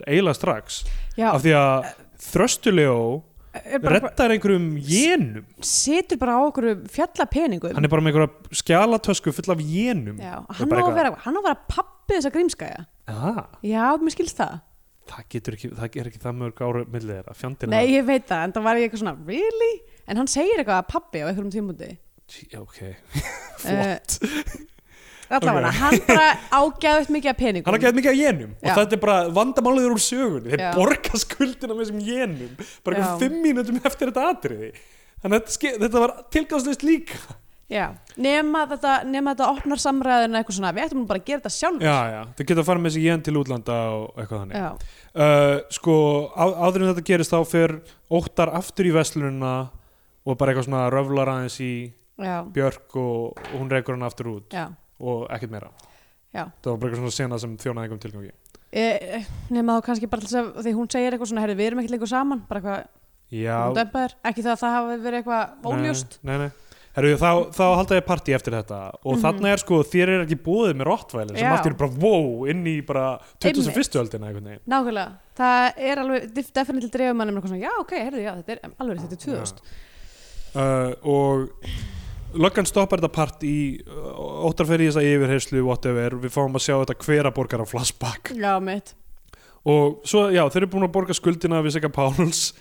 eiginlega strax já, af því að Þröstuljó er bara, reddar einhverjum jenum situr bara á okkur fjalla peningum hann er bara með einhverja skjalatösku full af jenum já, Og hann, á bara að eitthvað- vera, hann á að vera pappi þessa grímskæja ah, já, mér skilst það það getur ekki, það er ekki það mörg ára millið þeirra, fjandina Nei, ég veit það, en það var ég eitthvað svona, really? En hann segir eitthvað að pappi á einhverjum tímundi. Tí- ok, Flott. flott Allavega, Ok. Eh, hann bara ágæðut mikið af peningum. hann har gett mikið af jenum Já. og þetta er bara vandamálið úr sögunni þeir Já. borga skuldina með þessum jenum bara Já. einhverjum fimm mínutum eftir þetta atriði þannig að þetta, ske- þetta var tilgangslist líka Já, nema þetta, nema þetta opnar samræðinu eitthvað svona, við ættum bara að gera þetta sjálf. já, já, þau geta að fara með þessi jen til útlanda og eitthvað þannig Já, uh, sko á, áður en þetta gerist þá fer óttar aftur í veslununa og bara eitthvað svona röflar aðeins í já, Björk og, og hún reykur hann aftur út já. og ekkert meira Já. það var bara eitthvað svona sena sem þjónaði einhverjum tilgangi E, e, nema þá kannski bara til þess að því hún segir eitthvað svona, herri, við erum ekkert lengur saman, bara eitthvað, hún já, dömpaður, ekki það að það hafi verið eitthvað óljóst. nei, nei, nei. Heru, þá, þá halda ég partí eftir þetta og þarna er sko þér er ekki búið með Rottweiler sem Mhm. Já. aftur er bara wow inn í bara 21. öldina einhvern veginn Nákvæmlega, það er alveg, definitíl dreifum mannum um eitthvað svona, já, ok, herri, já, þetta er alveg, þetta er 2000. uh, og löggan stoppar þetta part í eh, óttar fyrir þess að yfirheyslu whatever, við fáum að sjá þetta hvera borgar á flashback Já, mitt. og svo, já, þeir eru búin að borga skuldina við Sigga Páls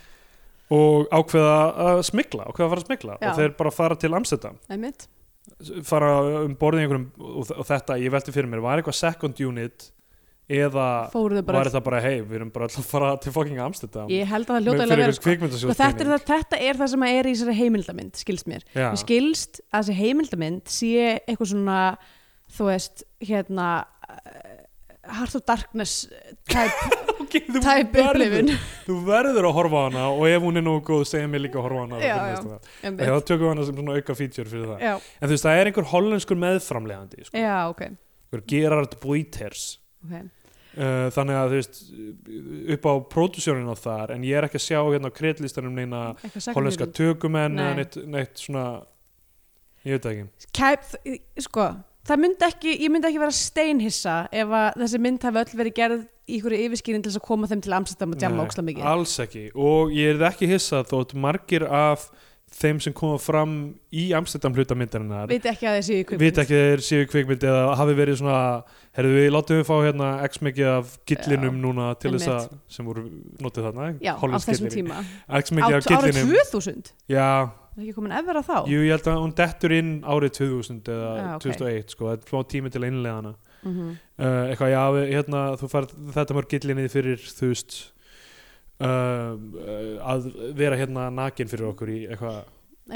og ákveða að smikla, ákveða að fara að smikla Já. og þeir bara fara til Amsterdam Einmitt. fara um borðið einhverjum og, og þetta, ég velti fyrir mér, var eitthvað second unit eða Fóruðu bara var þetta bara, hei, við erum bara alltaf að fara til fucking Amsterdam Ég held að það Með- hljóta alveg að fyrir vera einhvers sko. Sko, kvikmyndasjóð þetta, er það, þetta er það sem er í þessari heimildamind, skilst mér. Já. Mér skilst að þessi heimildamind sé eitthvað svona, eh, þú veist, hérna, uh, Heart of Darkness type ekki þú Tæp verður- upplifun. þú verður að horfa á hana og ef hún er nógu góð segja mér líka að horfa á hana Já, já. já. Já, það tökum við hana sem svona auka feature fyrir það já, en þú veist það er einhver hollenskur meðframlegandi sko. já, ok, einhver Gerard Buiters okay. uh, þannig að þú veist upp á pródusjónina þar en ég er ekki að sjá hérna á kredlistanum neina Eitthvað sakar hollenska fyrir. tökumenn Nei. eða neitt, neitt svona ég veit það ekki Kæp, sko, það myndi ekki ég myndi ekki vera steinhissa ef að þessi mynd hafi öll verið gerð í ykkur yfirskýrin til þess að koma þeim til Amsterdam og djama Nei, óksla mikið alls ekki og ég er ekki hissað þótt margir af þeim sem koma fram í Amsterdam hlutamyndarinnar veit ekki að þessi ykkur vita ekki að þeir séu kvikmynd eða hafi verið svona herðu við látum við fá hérna x mikið af gillinum núna til þess að sem voru notið þarna já, á hollensk þessum gillir. tíma x mikið af Á- árið gillinum 2000 já, er ekki komin efver að þá jú, ég held að hún dettur inn árið 2000 eða Já, ok. 2001 sko, þetta er smá tími til að innlega hana mm uh, eitthvað, já, við- hérna, þú færð þetta mörg gillinni fyrir, þú veist uh, uh, að vera hérna nakin fyrir okkur í eitthvað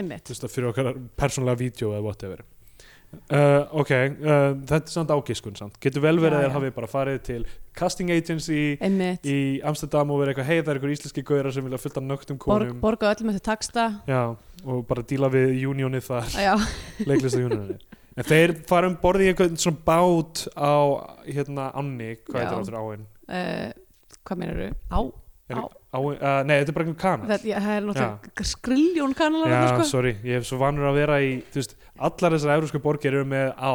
einmitt þú veist, fyrir okkar persónlega vídeo eða whatever uh, ok, uh, þetta er samt ágiskun samt getur vel verið Já, að já. þeir hafi bara farið til casting agency einmitt, í Amsterdam og verið eitthvað hey það er einhver íslenski gauðar sem vilja fullta nögtum Borg, konum borga öllum þetta taksta já, og bara díla við unionið þar, Ah, já, leiklista unionið en þeir fara um borðið í einhvern svona bát á hérna Anni, Já. hvað heitir áttur áin? uh, hvað meinar þú? Á, Á. Er, áin uh, nei, þetta er bara einhvern kanal það, já, það er náttúrulega skrilljón kanalar já, þarna, sko. sorry, ég hef svo vanur að vera í þú veist, allar þessar evrósku borgir eru með á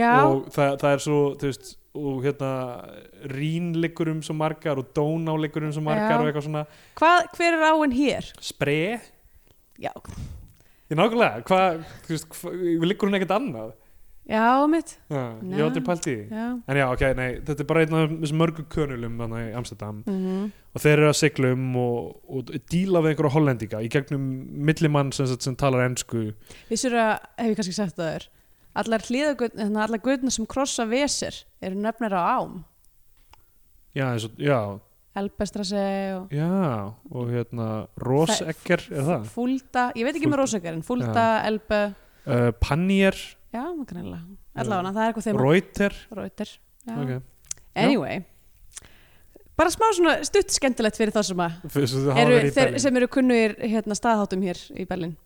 já, og það, það er svo þú veist, og hérna Rín liggur um svo margar og Dóná liggur um svo margar Já. og eitthvað svona hvað, hver er áin hér? spre, já, ég nákvæmlega hvað, þú veist, hva, liggur hún ekkert annað já, mitt já, ég hef aldrei pælt í því já, en já, ok, nei, þetta er bara einn af þessum mörgu könulum þannig í Amsterdam mm og þeir eru að sigla um og, og díla við einhverja hollendinga í gegnum millimann sem, sagt sem talar ennsku vissur að, hef ég kannski sagt það þér allar hliðagötn, þannig að allar götna sem krossa vesir eru nefnir á ám já, eins og, já, Elbestrase og já og hérna Rosekker, er það? Fúlda, ég veit ekki með Fulda. rósökar en Fúlda, Elbe, Uh, Pannier, já, kannilega allavega, það er eitthvað þeim Reuter Rauter, já, ok anyway bara smá svona stutt skemmtilegt fyrir þá sem að Fyrst þú hafa eru, verið í þeir, Berlín. sem eru kunnugir hérna, staðháttum hér í Berlin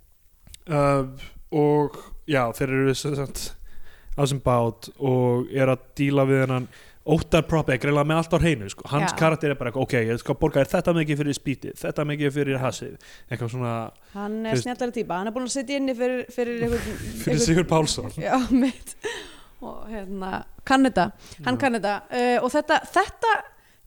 uh, og já, þeir eru sem sagt á sem bát og er að díla við hennan Óttar Propp er greiðlega með allt á hreinu sko. hans Já. karakter er bara eitthvað, ok, ég skal borga þér þetta mikið fyrir spítið, þetta mikið fyrir hassið eitthvað svona hann Þú er veist- snjallari típa, hann er búin að sitja inni fyrir, fyrir einhvern fyrir einhvern- Sigur Pálsson já, mitt og hérna, kann þetta hann kann þetta uh, og þetta, þetta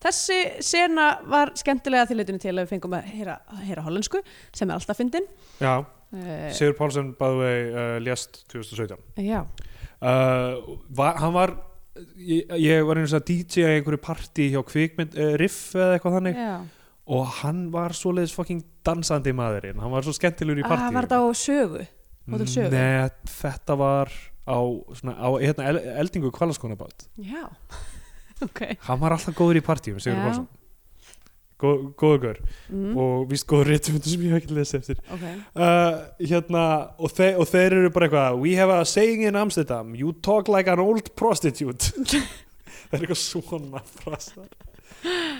þessi sena var skemmtilega til leitinu til að við fengum að heyra, heyra hollensku sem er alltaf fyndin já, uh, Sigur Pálsson bæði vei uh, lést 2017 já, uh, var, hann var ég, ég var einu svona DJ í einhverju partí hjá kvikmynd, uh, Riff eða eitthvað þannig já. og hann var svoleiðis fucking dansandi maðurinn, hann var svo skemmtilegur í Ah, partí var þetta á sögu Hótel Sögu? Nei, þetta var á, svona, á hérna, el, eldingu kvalaskónabát já, ok Hann var alltaf góður í partíum, Sigur Já. Pálsson Gó- Góður gaur mm, og víst góður réttumundur sem ég hef ekki lesið eftir ok uh, hérna, og, þe og þeir eru bara eitthvað We have a saying in Amsterdam You talk like an old prostitute Það er eitthvað svona frasar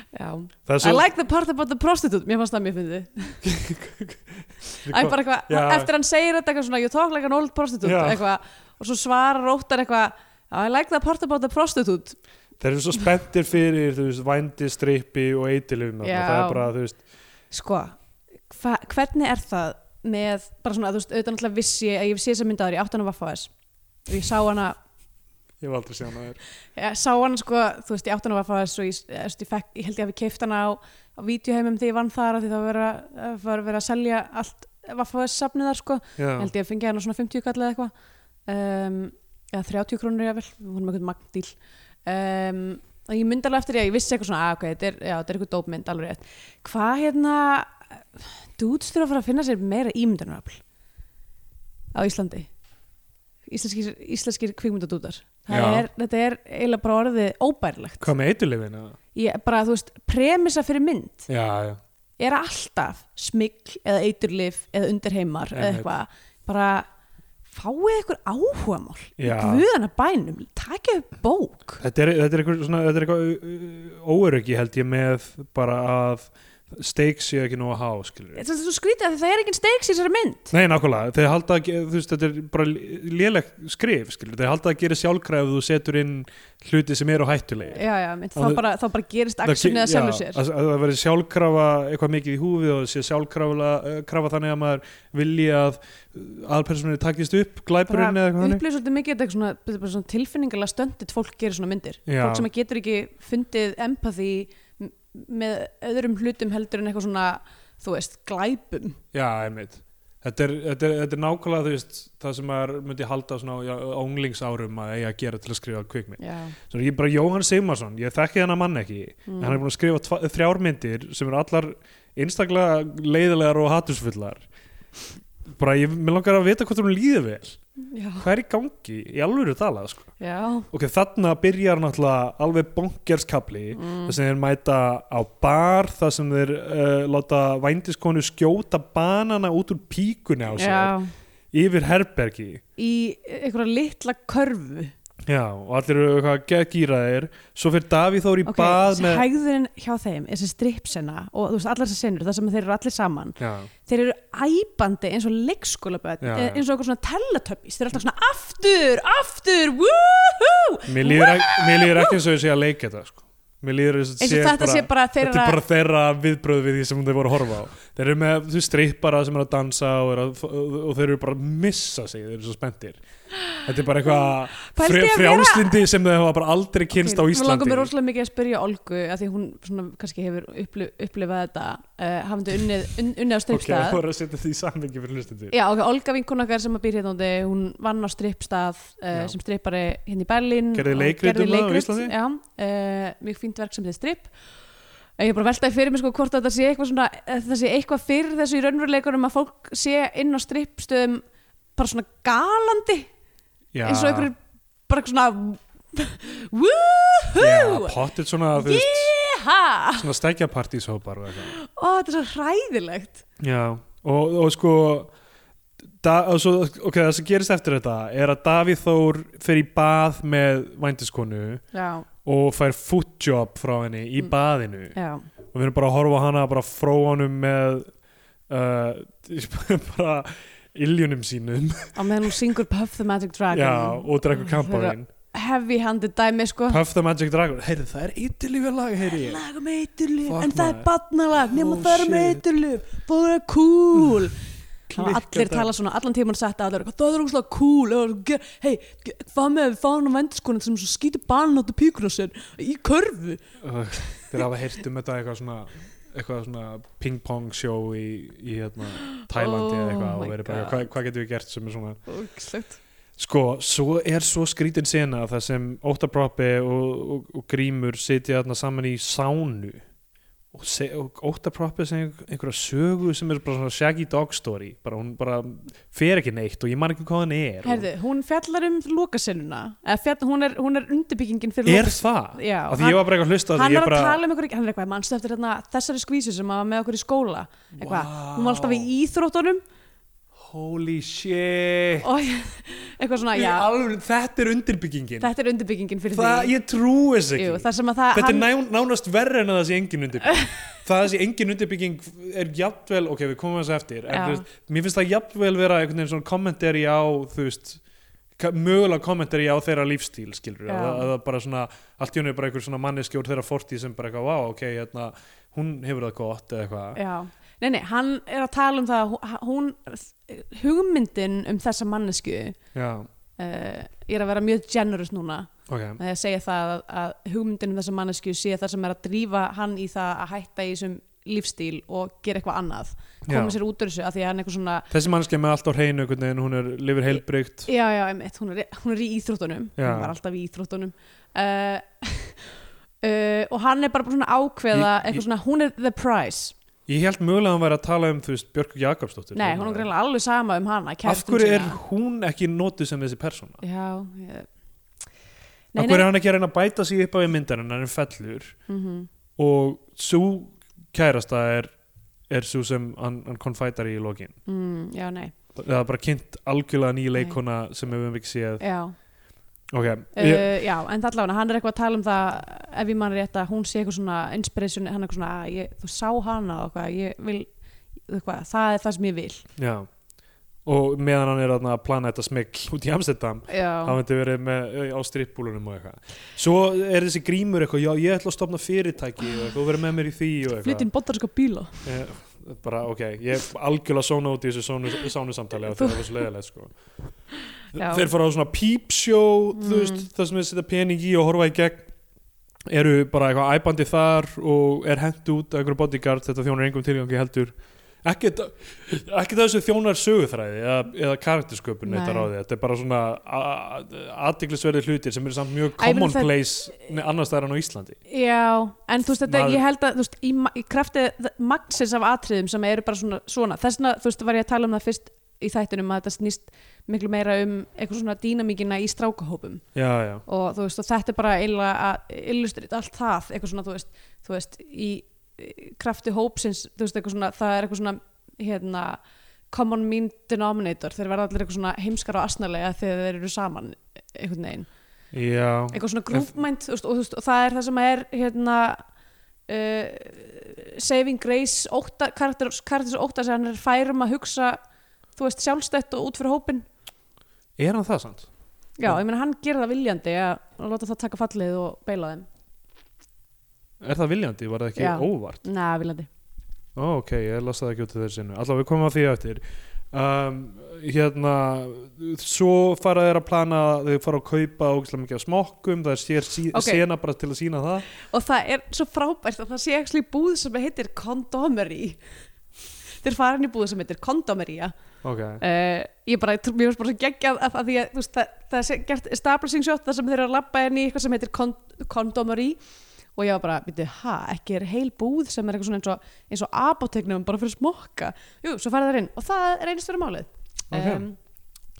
já. Það er I svo like the part about the prostitute, mér fannst það mjög fyndið Æ, bara eitthvað, Já. eftir hann segir þetta eitthvað svona You talk like an old prostitute Já. eitthvað, og svo svarar róttar eitthvað I like the part about the prostitute Þeir eru svo spenntir fyrir, þú veist, vændi, strippi og eitilum Já. Það er bara, þú veist Sko, hva, hvernig er það með, bara svona, þú veist, auðvitað náttúrulega vissi ég að ég sé þess að mynda þar, ég átti hana Vaffa S og ég sá hana, Ég hef aldrei séð hana þér ég sá hana sko þú veist, ég átti hana Vaffa S og ég, ég, ég, fekk, ég held ég hafi keift hana á, á vídeoheimum þegar ég vann þar af því það var verið að- var verið að selja allt Vaffa S safnið þar sko Já. Ég held ég að fengja hérna svona 50 kall eða eitthvað um, eða 30 krónur ég vel við vorum eitthvað magndýl um, og ég myndi alveg eftir því að ég vissi eitthvað svona að ok, þetta er, já, þetta er eitthvað dópmynd alveg rétt hvað hérna dudes þurfa að fara að finna sér meira ímyndunarafl á Íslandi íslenskir, íslenskir kvikmyndadútar það Já. er, þetta er eiginlega bara orðið óbærilegt Hvað með eitilifin? ég, bara þú veist, premissa fyrir mynd Já, já er alltaf smikl eða eiturlif eða undirheimar eða Einmitt. eitthvað bara fáið ykkur áhugamál í Já. guðana bænum, takið upp bók Þetta er, þetta er eitthvað, svona, þetta er eitthvað óöryggi held ég með bara að stakes séu ekki nóg að hafa skilur þetta er svo skrítið að það er engin steiks í þessari mynd Nei, nákvæmlega, þeir halda að ge- þú veist, þetta er bara léleg skrif skilur, þeir halda að gera sjálfkræf þú setur inn hluti sem eru hættulegi já, já, mynd, þá, Það- bara, þá bara gerist aksjunni að sjálfu sér að, að það verði sjálfkrafa eitthvað mikið í húfið og sé sjálfkrafa eh, krafa þannig að maður vilji að aðalpersoninu takist upp bara glæpurinn eða eitthvað þannig upplýð svolítið mikið þetta er svona, þetta er bara svona tilfinningalega stöndið fólk gerir svona myndir Já. fólk sem getur ekki fundið empathy m- með öðrum hlutum heldur en eitthvað svona þú veist, glæpum Já, einmitt Þetta er, þetta, er, þetta er nákvæmlega þú veist, það sem maður myndi halda svona á- á unglingsárum að eiga að gera til að skrifa kvikmynd. já, Svo ég er bara Jóhann Sigmarsson, ég þekki þennan mann ekki, en hann er búin að skrifa tva- þrjár myndir sem eru allar einstaklega leiðilegar og hatursfullar. Bara ég, mér langar að vita hvort hún líður vel. já, Hvað er í gangi? Í alvöru talað, sko. já. Ok, þarna byrjar náttúrulega alveg bongerskabli mm. þar sem þeir mæta á bar þar sem þeir uh, láta vændiskonu skjóta banana út úr píkunni á sér já. yfir herbergi í einhverja litla körfu Já, og allir eru eitthvað geggýraðir svo fyrir Davíð Þór í ok, bað með hægðurinn hjá þeim þessi stripsena og þú veist, allar þessar senur þar sem þeir eru allir saman Já, þeir eru æpandi eins og leikskólaböð Já, já. eins og eitthvað svona teletöppis þeir eru alltaf svona aftur, aftur woohoo mér líður, ek, mér líður ekki eins og ég sé að leika þetta sko. Mér líður eins og eins og þetta sé bara þeirra Þetta er bara þeirra viðbröð við því sem þeir voru að horfa á Þeir eru með þú strippara sem eru að dansa og, er að, og þeir eru bara að missa sig þeir eru svo spenntir Þetta er bara eitthvað Pældi fri, að vera- frjálslindi sem þeir hafa bara aldrei kynst á Mér langar Íslandi mér rosalega mikið að spyrja Olgu að því hún svona kannski hefur upplif, upplifað þetta uh, hafandi unnið, un, unnið á Ok, það strippstað voru að setja því í samhengi fyrir hlustandi Já, ok, Olga vinkona okkar sem að býr hérna úti, hún vann á strippstað uh, Já. sem strippari hérna í Berlín Gerði og leikrit gerði um það á leikrit, Íslandi? Já, uh, mjög fínt verk sem þið stripp Ég er bara að veltaði fyrir mig sko hvort að það sé eitthvað svona, að það sé eitthvað fyrir þessu í raunveruleikunum að fólk sé inn á strippstöðum bara svona galandi eins og einhverjir bara svona Já, woohoo pottet svona, þú veist, yeah svona stækja partíshópar og eitthvað og þetta er svo hræðilegt Já, og, og sko da, og svo, ok, það sem gerist eftir þetta er að Davíð Þór fer í bað með vændiskonu já, og fær footjob frá henni í Mm. baðinu já, og við erum bara að horfa á hana bara frá honum með uh, bara iljunum sínum á meðan hún syngur Puff the Magic Dragon Já, og drekkur kampavín heavy handed dæmi sko Puff the Magic Dragon, heyrðu það er eitilífið lag heyrðu ég lag um eiturlif, Fuck, en það er maður. badnalag nema Oh, það er um shit. eiturlif, það er cool Það var Klikkar allir dæmi. tala svona, allan tíman setta allir, eitthvað, það er ógslag cool hei, hvað með að við fáum á vendiskonin sem svo skýtur banan áttu píkur á sér í körfu Ugh, Þeir hafa heyrt um þetta eitthvað svona eitthvað svona ping pong sjó í, í hérna, Tælandi Oh eða eitthvað my og verið bara, God. hvað, hvað getum við gert sem er svona Ógslegt sko, svo er svo skrítin sena það sem Óttapropi og, og, og Grímur sitja þarna saman í sánu og, se- og Óttapropi sem einhverja sögu sem er bara svona shaggy dog story bara hún bara fer ekki neitt og ég man ekki hvað hann er Herði, hún fjallar um lokasinnuna eða fjall, hún, er, hún er undirbyggingin og, fyrir er lokas- það? Já, Af því ég var bara eitthvað að hlusta á því, hann ég er að bara, tala um ykkur hann er eitthvað, mannstu eftir hérna, þessari skvísu sem að var með okkur í skóla eitthvað, hún var alltaf í íþróttunum um- holy shit og eitthvað svona, Í já, alvöru, þetta er undirbyggingin þetta er undirbyggingin fyrir það, því ég trúi þess ekki Jú, það sem að það þetta er ná, nánast verra en að það sé engin undirbygging það að sé engin undirbygging er jafnvel, ok við komum þess eftir en, Já. þú veist, mér finnst það jafnvel vera einhvern veginn svona kommentari á þú veist ka- mögulega kommentari á þeirra lífstíl skilur, Já. að, að það bara svona allt í henni er bara einhver svona manneski úr þeirra fortíð sem bara eitthvað, vá, ok, hérna, hún hefur það gott eða eitthvað, já, nei, nei, hann er að tala um það að hú- hún, hugmyndin um þessa mannesku uh, já, ég er að vera mjög generous núna ok með því að segja það að, að hugmyndin um þessa mannesku sé það sem er að drífa hann í það að hætta í þessum lífstíl og gera eitthvað annað koma Já. sér út úr þessu að því að hann eitthvað svona þessi manneski er með allt á hreinu einhvern veginn, hún er, lifir heilbrygt já, já, einmitt, hún, er, hún er í íþróttunum Já. hún var alltaf í íþróttunum uh, uh, og hann er bara svona að ákveða Í- í- eitthvað svona, hún er the prize ég held mögulega að hann væri að tala um, þú veist, Björk Jakobsdóttir nei, hún er greinlega alveg sama um hana af kærastuna hverju er sína. hún ekki notuð sem þessi persóna já, ég... af hverju er hann ekki að reyna að bæta sig upp á í myndarinn hann er fellur Mhm. og svo kærasta er, er svo sem hann, hann konfætar í lokin mm, já, nei það er bara kynnt algjörlega ný leikona sem við höfum ekki séð já, ok, uh, ég, já en það allavega, hann er eitthvað að tala um það ef ég mann rétt að hún sé eitthvað svona inspiration, hann er eitthvað svona, "Ah, ég, þú sá hana og eitthvað, ég vil eitthvað, það er það sem ég vil já og meðan hann er þarna að plana þetta smegl út í Amsterdam já, hann myndi verið með ö, á strippbúlunum og eitthvað svo er þessi grímur eitthvað já ég ætla að stopna fyrirtæki og eitthvað og verið með mér í því og flytinn botarska bíla eitthvað ég, Eh, bara ok, ég er algjörlega svona út í þessu sónu, sónu samtali og það var svo leiðilegt sko Já. Mm. þeir fara á svona pípsjó þú veist, það sem þeir setja pening í og horfa í gegn eru bara eitthvað æbandi þar og er hent út af einhverju bodyguard, þetta þjónar engum tilgangi heldur ekkert ekkert að þessu þjónar söguþræði eða, eða karaktersköpun Nei. þetta ráði, þetta er bara svona aðtiklisverði hlutir sem eru samt Æ, mjög ég meina það- commonplace það... annars það er hann á Íslandi Já, en þú veist þetta, Maður- ég held að þú veist, í, ma- í krafti magnsins af atriðum sem eru bara svona, svona þess vegna, þú veist, var ég að tala um það fyrst í þættinum að þetta snýst miklu meira um eitthvað svona dýnamíkina í strákahópum já, já, og þú veist, og þetta er bara eiginlega að illustrita allt það, eitthvað svona, þú veist þú veist, í í krafti hópsins, þú veist, eitthvað svona, það er eitthvað svona hérna, common mean denominator, þeir verða allir eitthvað svona heimskar og asnalega þegar þeir eru saman einhvern veginn já eitthvað svona grúfmænt og, og, þú veist, og það er það sem er hérna uh, Saving Grace ótta, karakter, karakter sem óttar sem hann er færum að hugsa þú veist sjálfstætt og út fyrir hópin er hann það sant? já, ég meina hann gerir það viljandi að, að láta það taka fallið og beila þeim er það viljandi, var það ekki Já. óvart? neða, viljandi Ó, ok, ég las það ekki út af þessu sinnu. Allá, við komum að því eftir. Um, hérna, svo fara þeir að plana, þeir fara að kaupa ógislega mikið af smokkum, það er sér sí, Ok. sena bara til að sína það. og það er svo frábært að það sé ekki búð sem heitir Condomery þeir fara inn í búð sem heitir Condomeria Ok, uh, ég bara, trú- mér finnst bara svo geggjað af, af því að þú veist, það, það er se- gert establishing shot þar sem þeir eru að labba inn í eitthvað sem heitir kon, kondomari og ég var bara, veitu, ha, ekki er heil búð sem er eitthvað svona eins og, eins og apoteknum bara fyrir smokka, jú, svo fara þeir inn og það er einst fyrir málið Ok.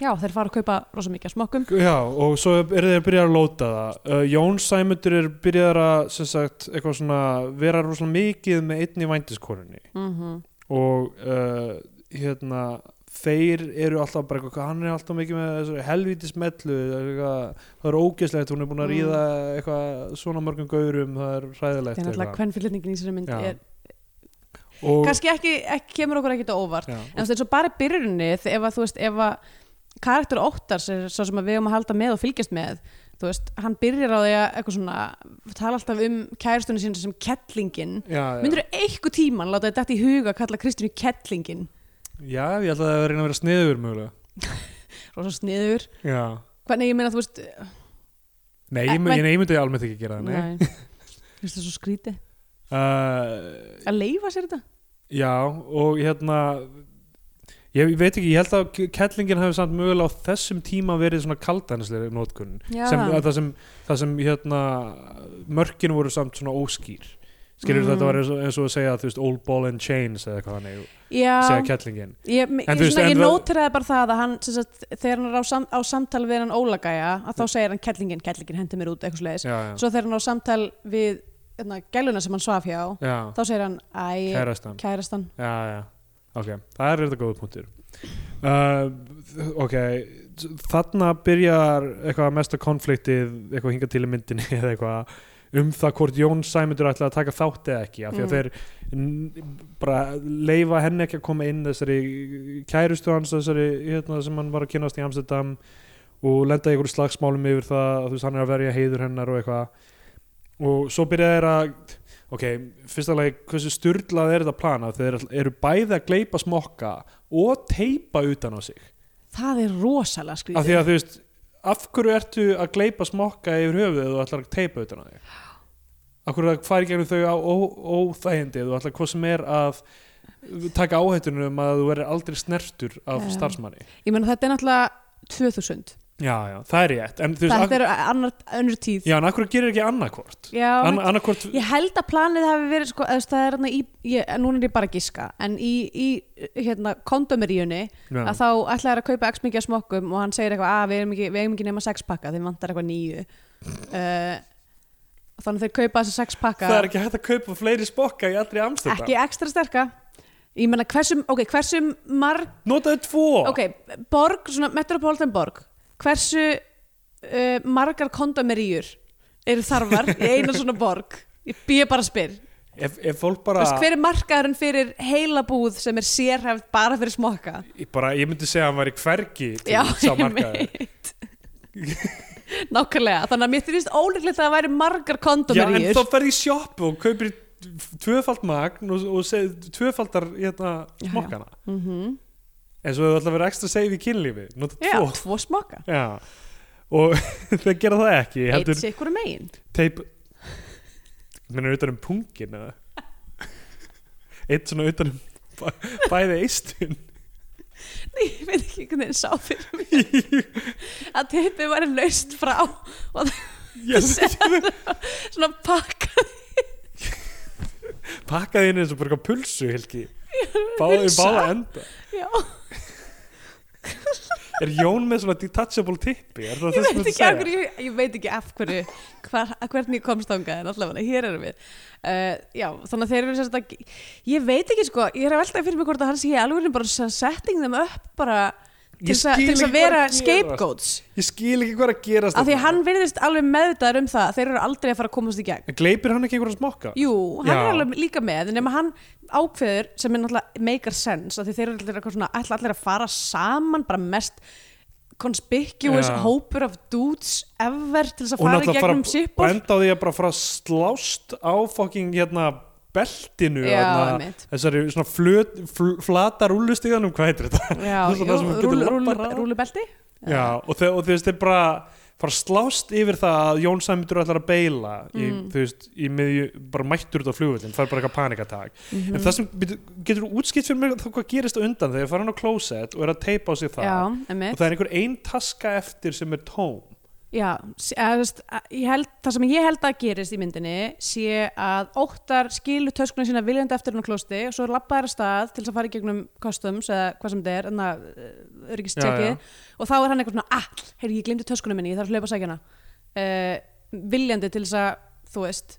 já, þeir fara að kaupa rosa mikið af smokkum já, og svo eru þeir að byrja að lóta það. Uh, Jón Sæmundur er byrjaðar að, sem sagt, eitthvað svona, vera rosalega mikið með einni vændiskorinni. mm Mhm. -hmm. og uh, hérna þeir eru alltaf bara eitthvað hann er alltaf mikið með þessari helvítis mellu það er ógeðslegt, hún er búin að Mm. ríða eitthvað svona mörgum gaurum það er það er hræðilegt náttúrulega hvern fyrirlitningin í þessari mynd Já. er, og, kannski ekki, ekki kemur okkur ekkert á óvart já, en þú veist, eins og bara í byrjunni þ- ef að, þú veist, ef að karakter óttars er svo sem að við um að halda með og fylgjast með þú veist, hann byrjar á því að eitthvað svona, tala alltaf um kæristunni sína sem kettlingin já, já, myndur þú eitthvað tíman láta þetta í huga að kalla Kristínu kettlingin já, ég ætla að það er að reyna að vera sniður mögulega rosa sniður, já. hvernig ég meina þú veist nei, ég, Eh, mun- ég, ég myndi almennt ekki gera það nei. nei, þú veist það er svo skríti Uh, að leifa sér þetta Já, og hérna ég veit ekki, ég held að kettlingin hefur samt mögulega á þessum tíma verið svona kaldænislega nótkunn Já. sem, að það, sem, það sem hérna mörkin voru samt svona óskýr skilur Mm. þetta var eins og, eins og að segja þú veist, old ball and chains eða hvað hann er segja já, kettlingin ég, ég, þú veist, svona, en ég það- nótiraði bara það að hann sem sagt, þegar hann er á, sam, á samtal við hann ólagæja að þá segir hann kettlingin, kettlingin hendi mér út eitthvað slegis Já, já, svo þegar hann á samtal við hérna, gæluna sem hann svaf hjá já, þá segir hann, æ, kærastan kærastan Já, já, ok, það er þetta góða punktur uh, Ok, þarna byrjar eitthvað mesta konfliktið eitthvað hingað til í myndinni eða eitthvað um það hvort Jón Sæmundur ætla að taka þátt eða ekki af því að þeir n- bara leifa henni ekki að koma inn þessari kærustu hans þessari hérna, sem hann var að kynast í Amsterdam og lenda í einhverju slagsmálum yfir það að þú veist hann er að verja heiður hennar og eitthvað og svo byrja þeir að ok, fyrsta lagi, hversu styrlað er þetta plana þeir eru bæði að gleipa smokka og teipa utan á sig það er rosalega af skrítið því að þú veist, af hverju ertu að gleipa smokka yfir höfuðið og þú ætlar að teipa utan á þig af hverju það færi gegnum þau á ó- óþægindið og ætlar hvað sem er að taka áhættunum um að þú verður aldrei snertur af Já. starfsmanni ég meina þetta er náttúrulega 2000 já, já, það er rétt en þú veist, þetta af, er annar, önnur tíð já, en af hverju gerir ekki annarkvort já, Ann, annarkvort, ég held að planið hafi verið sko, eða, þú veist, það er hérna í, ég, núna er ég bara að gíska en í, í hérna, kondomeríunni Já. að þá ætlaði þær að kaupa x mikið af smokkum og hann segir eitthvað að við eigum ekki, við eigum ekki nema sex pakka þeim vantar eitthvað nýju uh, þannig að þeir kaupa þessa sex pakka það er ekki hægt að kaupa fleiri smokka í allri amstæðan ekki ekstra sterka ég menna hversum, ok, hversum marg notaðu tvo ok, borg, svona metropolitan borg hversu uh, margar kondomeríur eru þarfar í eina svona borg ég býð bara að spyr Þú ef, ef fólk bara, veist, hver er markaðurinn fyrir heila búð sem er sérhæft bara fyrir smokka ég bara ég myndi segja að hann væri hvergi til já, sá ég markaður. veit nákvæmlega, þannig að mér finnst ólíklegt að það væri margar já en kondomeríur þá ferði í sjoppu og kaupir tvöfald magn og, og seg, tvöfaldar hérna, Já, já. smokkana mm en svo hefur alltaf verið ekstra save í kynlífi nota já, tvo tvo smokka Já. og þeir gera það ekki eitt heldur sikkur megin teip mennur utan um pungin eða eitt svona utan um bæ- bæði eistun ég veit ekki hvernig það sá fyrir mér að teipið væri laust frá og svona pakka pakkaði inn eins og bara eitthvað pulsu helgi báði pulsa. báða enda já, er Jón með svona detachable tippi er það ég það sem veit ekki þú af segja hverju ég veit ekki af hverju hvar, að hvernig ég komst þangað en allavega hér erum við uh, já, þannig að þeir eru sérst að ég veit ekki sko, ég er að velta fyrir mig hvort að hann sé í alveg bara sem setting þeim upp bara Ég til þess að- skil til þess ekki að vera hvað sko. er að gerast. scapegoats ég skil ekki hvað er að gerast af því að þarna. hann virðist alveg meðvitaður um það að þeir eru aldrei að fara að komast í gegn En gleipir hann ekki einhverja smokka Jú, hann Já. er alveg líka með nema hann ákveður sem er náttúrulega make a sense af því þeir eru allir, eitthvað svona, ætla allir að fara saman bara mest conspicuous Já. hópur af dudes ever til þess að og fara í náttúrulega gegnum bara sípur enda á því að bara fara að slást á fucking hérna beltinu Já, hérna, einmitt. þessari svona flöt, fl, flata rúllustíðanum hvað heitir þetta Já, Það er jú, svona sem þú getur rúlu- labbað rúlu- hraðar. rúlubelti Já, og, þe og þú veist, þeir bara fara að slást yfir það að Jón Sæmundur ætlar að beila í, Mm. þú veist, í miðju, bara mættur út á flugvöldin, það er bara eitthvað panikatak Mhm. en það sem, bíddu, getur þú útskipt fyrir mig þá hvað gerist á undan þegar fara hann á klósett og er að teipa á sig það Já, og emmitt það er einhver ein taska eftir sem er tóm Já, s- eða, þú veist, að- ég held, það sem ég held að gerist í myndinni sé að óttar skilu töskuna sína viljandi eftir hennar klósti og svo er labbaðar stað til þess að fara í gegnum customs eða hvað sem þetta er, en það Já, já. öryggistekið og þá er hann eitthvað svona, ah, heyrðu, ég glemdi töskuna minni, ég þarf að hlaupa að sækja hana uh, viljandi til þess að, þú veist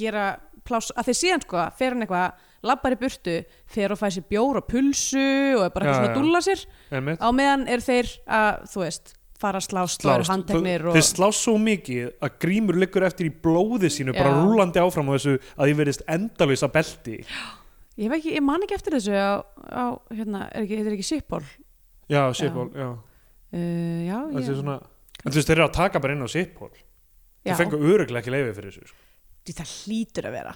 gera pláss, að þeir síðan sko fer hann eitthvað, labbar í burtu fer og fæ sér bjór og pulsu og er bara eitthvað Já, svona að já. dúlla sér Einmitt. á meðan er þeir að, þú veist fara að slást, slást. slást. handteknir Þau- og... þeir slást svo mikið að grímur liggur eftir í blóði sínu bara Já. rúlandi áfram á þessu að því verðist endalvisa belti Ég, hef ekki, ég man ekki eftir þessu á, á hérna, er ekki, heitir ekki Sipol uh, já, sípól, já, já, það já, sé svona en þú veist, þeir eru að taka bara inn á sípól já. þeir fengu öruglega ekki leiði fyrir þessu sko. Því það hlýtur að vera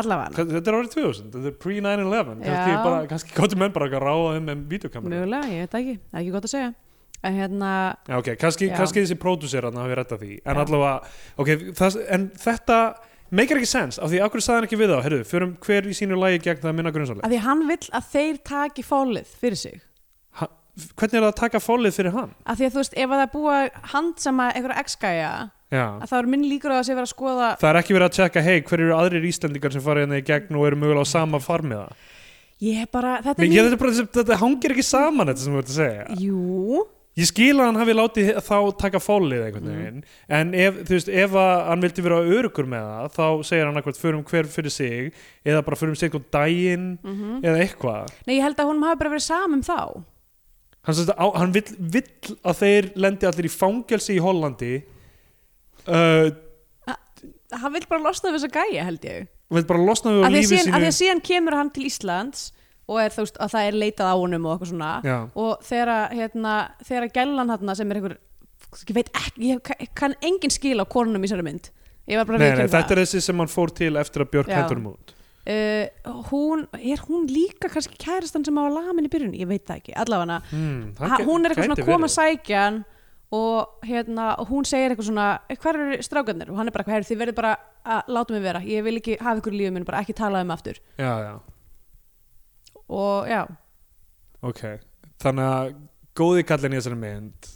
allavega Hvað- þetta er árið 2000, þetta er pre-9-11 kannski, Já. bara- kannski gáttu menn bara að ráða um með videokamera mögulega, ég veit það ekki, það er ekki gott að segja en hérna, Já, ok, kannski, Já. kannski þessi pródúserarna hafi rettað því en Já. allavega, ok, það, en þetta meikar ekki sens, af því akkur sagði hann ekki við þá heyrðu, förum hver í sínu lagi gegn það minna grunnsálega að því hann vill að þeir taki fólið fyrir sig ha, hvernig er það að taka fólið fyrir hann? að því að þú veist, ef að það er búið að handsama einhverja ex-gæja, Já. að það er minn líkur á að sé verið að skoða Það er ekki verið að tjekka, hei, hver eru aðrir Íslendingar sem farið hérna í gegn og eru mögulega á sama farmiða? ég er bara, þetta er Nei, ég, mín þetta, er bara, þetta, þetta hangir ekki saman þetta sem þú ert að segja. jú, Ég skil að hann hafi látið þá taka fólið Mm. einhvern veginn, en ef, þú veist, ef að hann vildi vera örugur með það, þá segir hann eitthvað, förum hver fyrir sig, eða bara förum sig eitthvað daginn, Mhm. eða eitthvað. nei ég held að honum hafi bara verið samum þá Hann, sem sagt á- hann vill, vill að þeir lendi allir í fangelsi í Hollandi, uh, hann vill bara losna við þessa gæja held ég vill bara losna við á að því að lífi síðan, að því sínu. að síðan kemur hann til Íslands og er, þú veist, að það er leitað á honum og eitthvað svona Já. og þegar að, hérna, þegar að gælan hann sem er einhver ég veit ekki, ég ka- kann engin skil á konunum í þessari mynd ég var bara um Nei, nei, viðurkenna þetta er þessi sem hann fór til eftir að Björk Já. hendur hún út. uh, hún, er hún líka kannski kærastan sem hafa lamin í byrjun, ég veit það ekki allavega Hmm, það ha, gæ- hún er eitthvað gæti svona að koma verið. að sækja hann og hérna, og hún segir eitthvað svona hver eru strákarnir? Og hann er bara, "Heyrðu, þið verðið bara að láta mig vera, ég vil ekki hafa ykkur í lífum minn, bara ekki tala um mig aftur já, já, og já, ok þannig að góði kallin í þessari mynd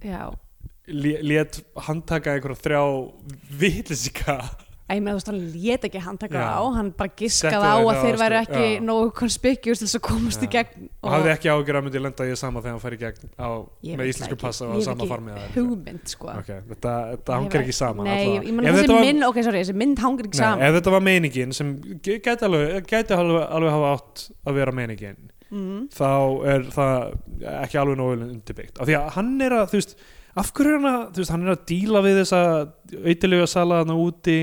já lé- lét handtaka einhverja þrjá vitlisika að ég meina þú veist hann lét ekki handtaka Já. á hann bara giskað Settu á þeir að á, þeir væri sko, ekki já. nógu konspikkjus til þess að komast í Já. gegn og hafði ekki ágjör að myndi lenda í sama þegar hann fær í gegn á, Ég veit með það íslensku ekki. passa Ég og hef sama ekki farmiða hugmynd sko okay, þetta, þetta Ég hangar hef ekki saman nei, allavega. ég, ég meina Ef þessi þetta var- mynd, ok sorry, þessi mynd hangar ekki Nei, saman ef þetta var meiningin sem g- gæti alveg, gæti alveg, alveg hafa átt að vera meiningin mm. þá er það ekki alveg nógu vel undirbyggt af því að hann er að, þú veist af hverju er hann að, þú veist, hann er að díla við þessa auðilega salaðana úti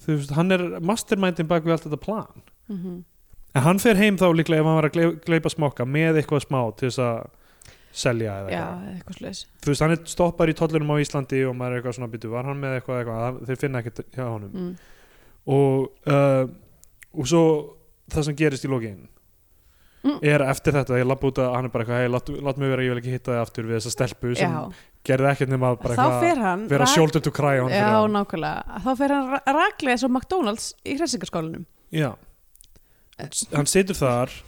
þú veist, hann er mastermindin bak við allt þetta plan Mm en hann fer heim þá líklega ef hann var að gleyp- gleypa smokka með eitthvað smá til þess að selja eða já, eitthvað eitthvað slags þú veist, hann er stoppar í tollinum á Íslandi og maður er eitthvað svona byttu, var hann með eitthvað, eitthvað Hann- þeir finna ekkert hjá honum mm. og, uh, og svo það sem gerist í lokin Mm. er eftir þetta, ég lapp út að hann er bara eitthvað, hei, lát, lát mig vera, ég vil ekki hitta þig aftur við þessa stelpu sem Mm. já, gerði ekkert nema bara þá fer hann vera rak- shoulder to cry on já, nákvæmlega, þá fer hann ra- raklega eins og McDonalds í hressingarskólanum já. Hann s- hann situr þar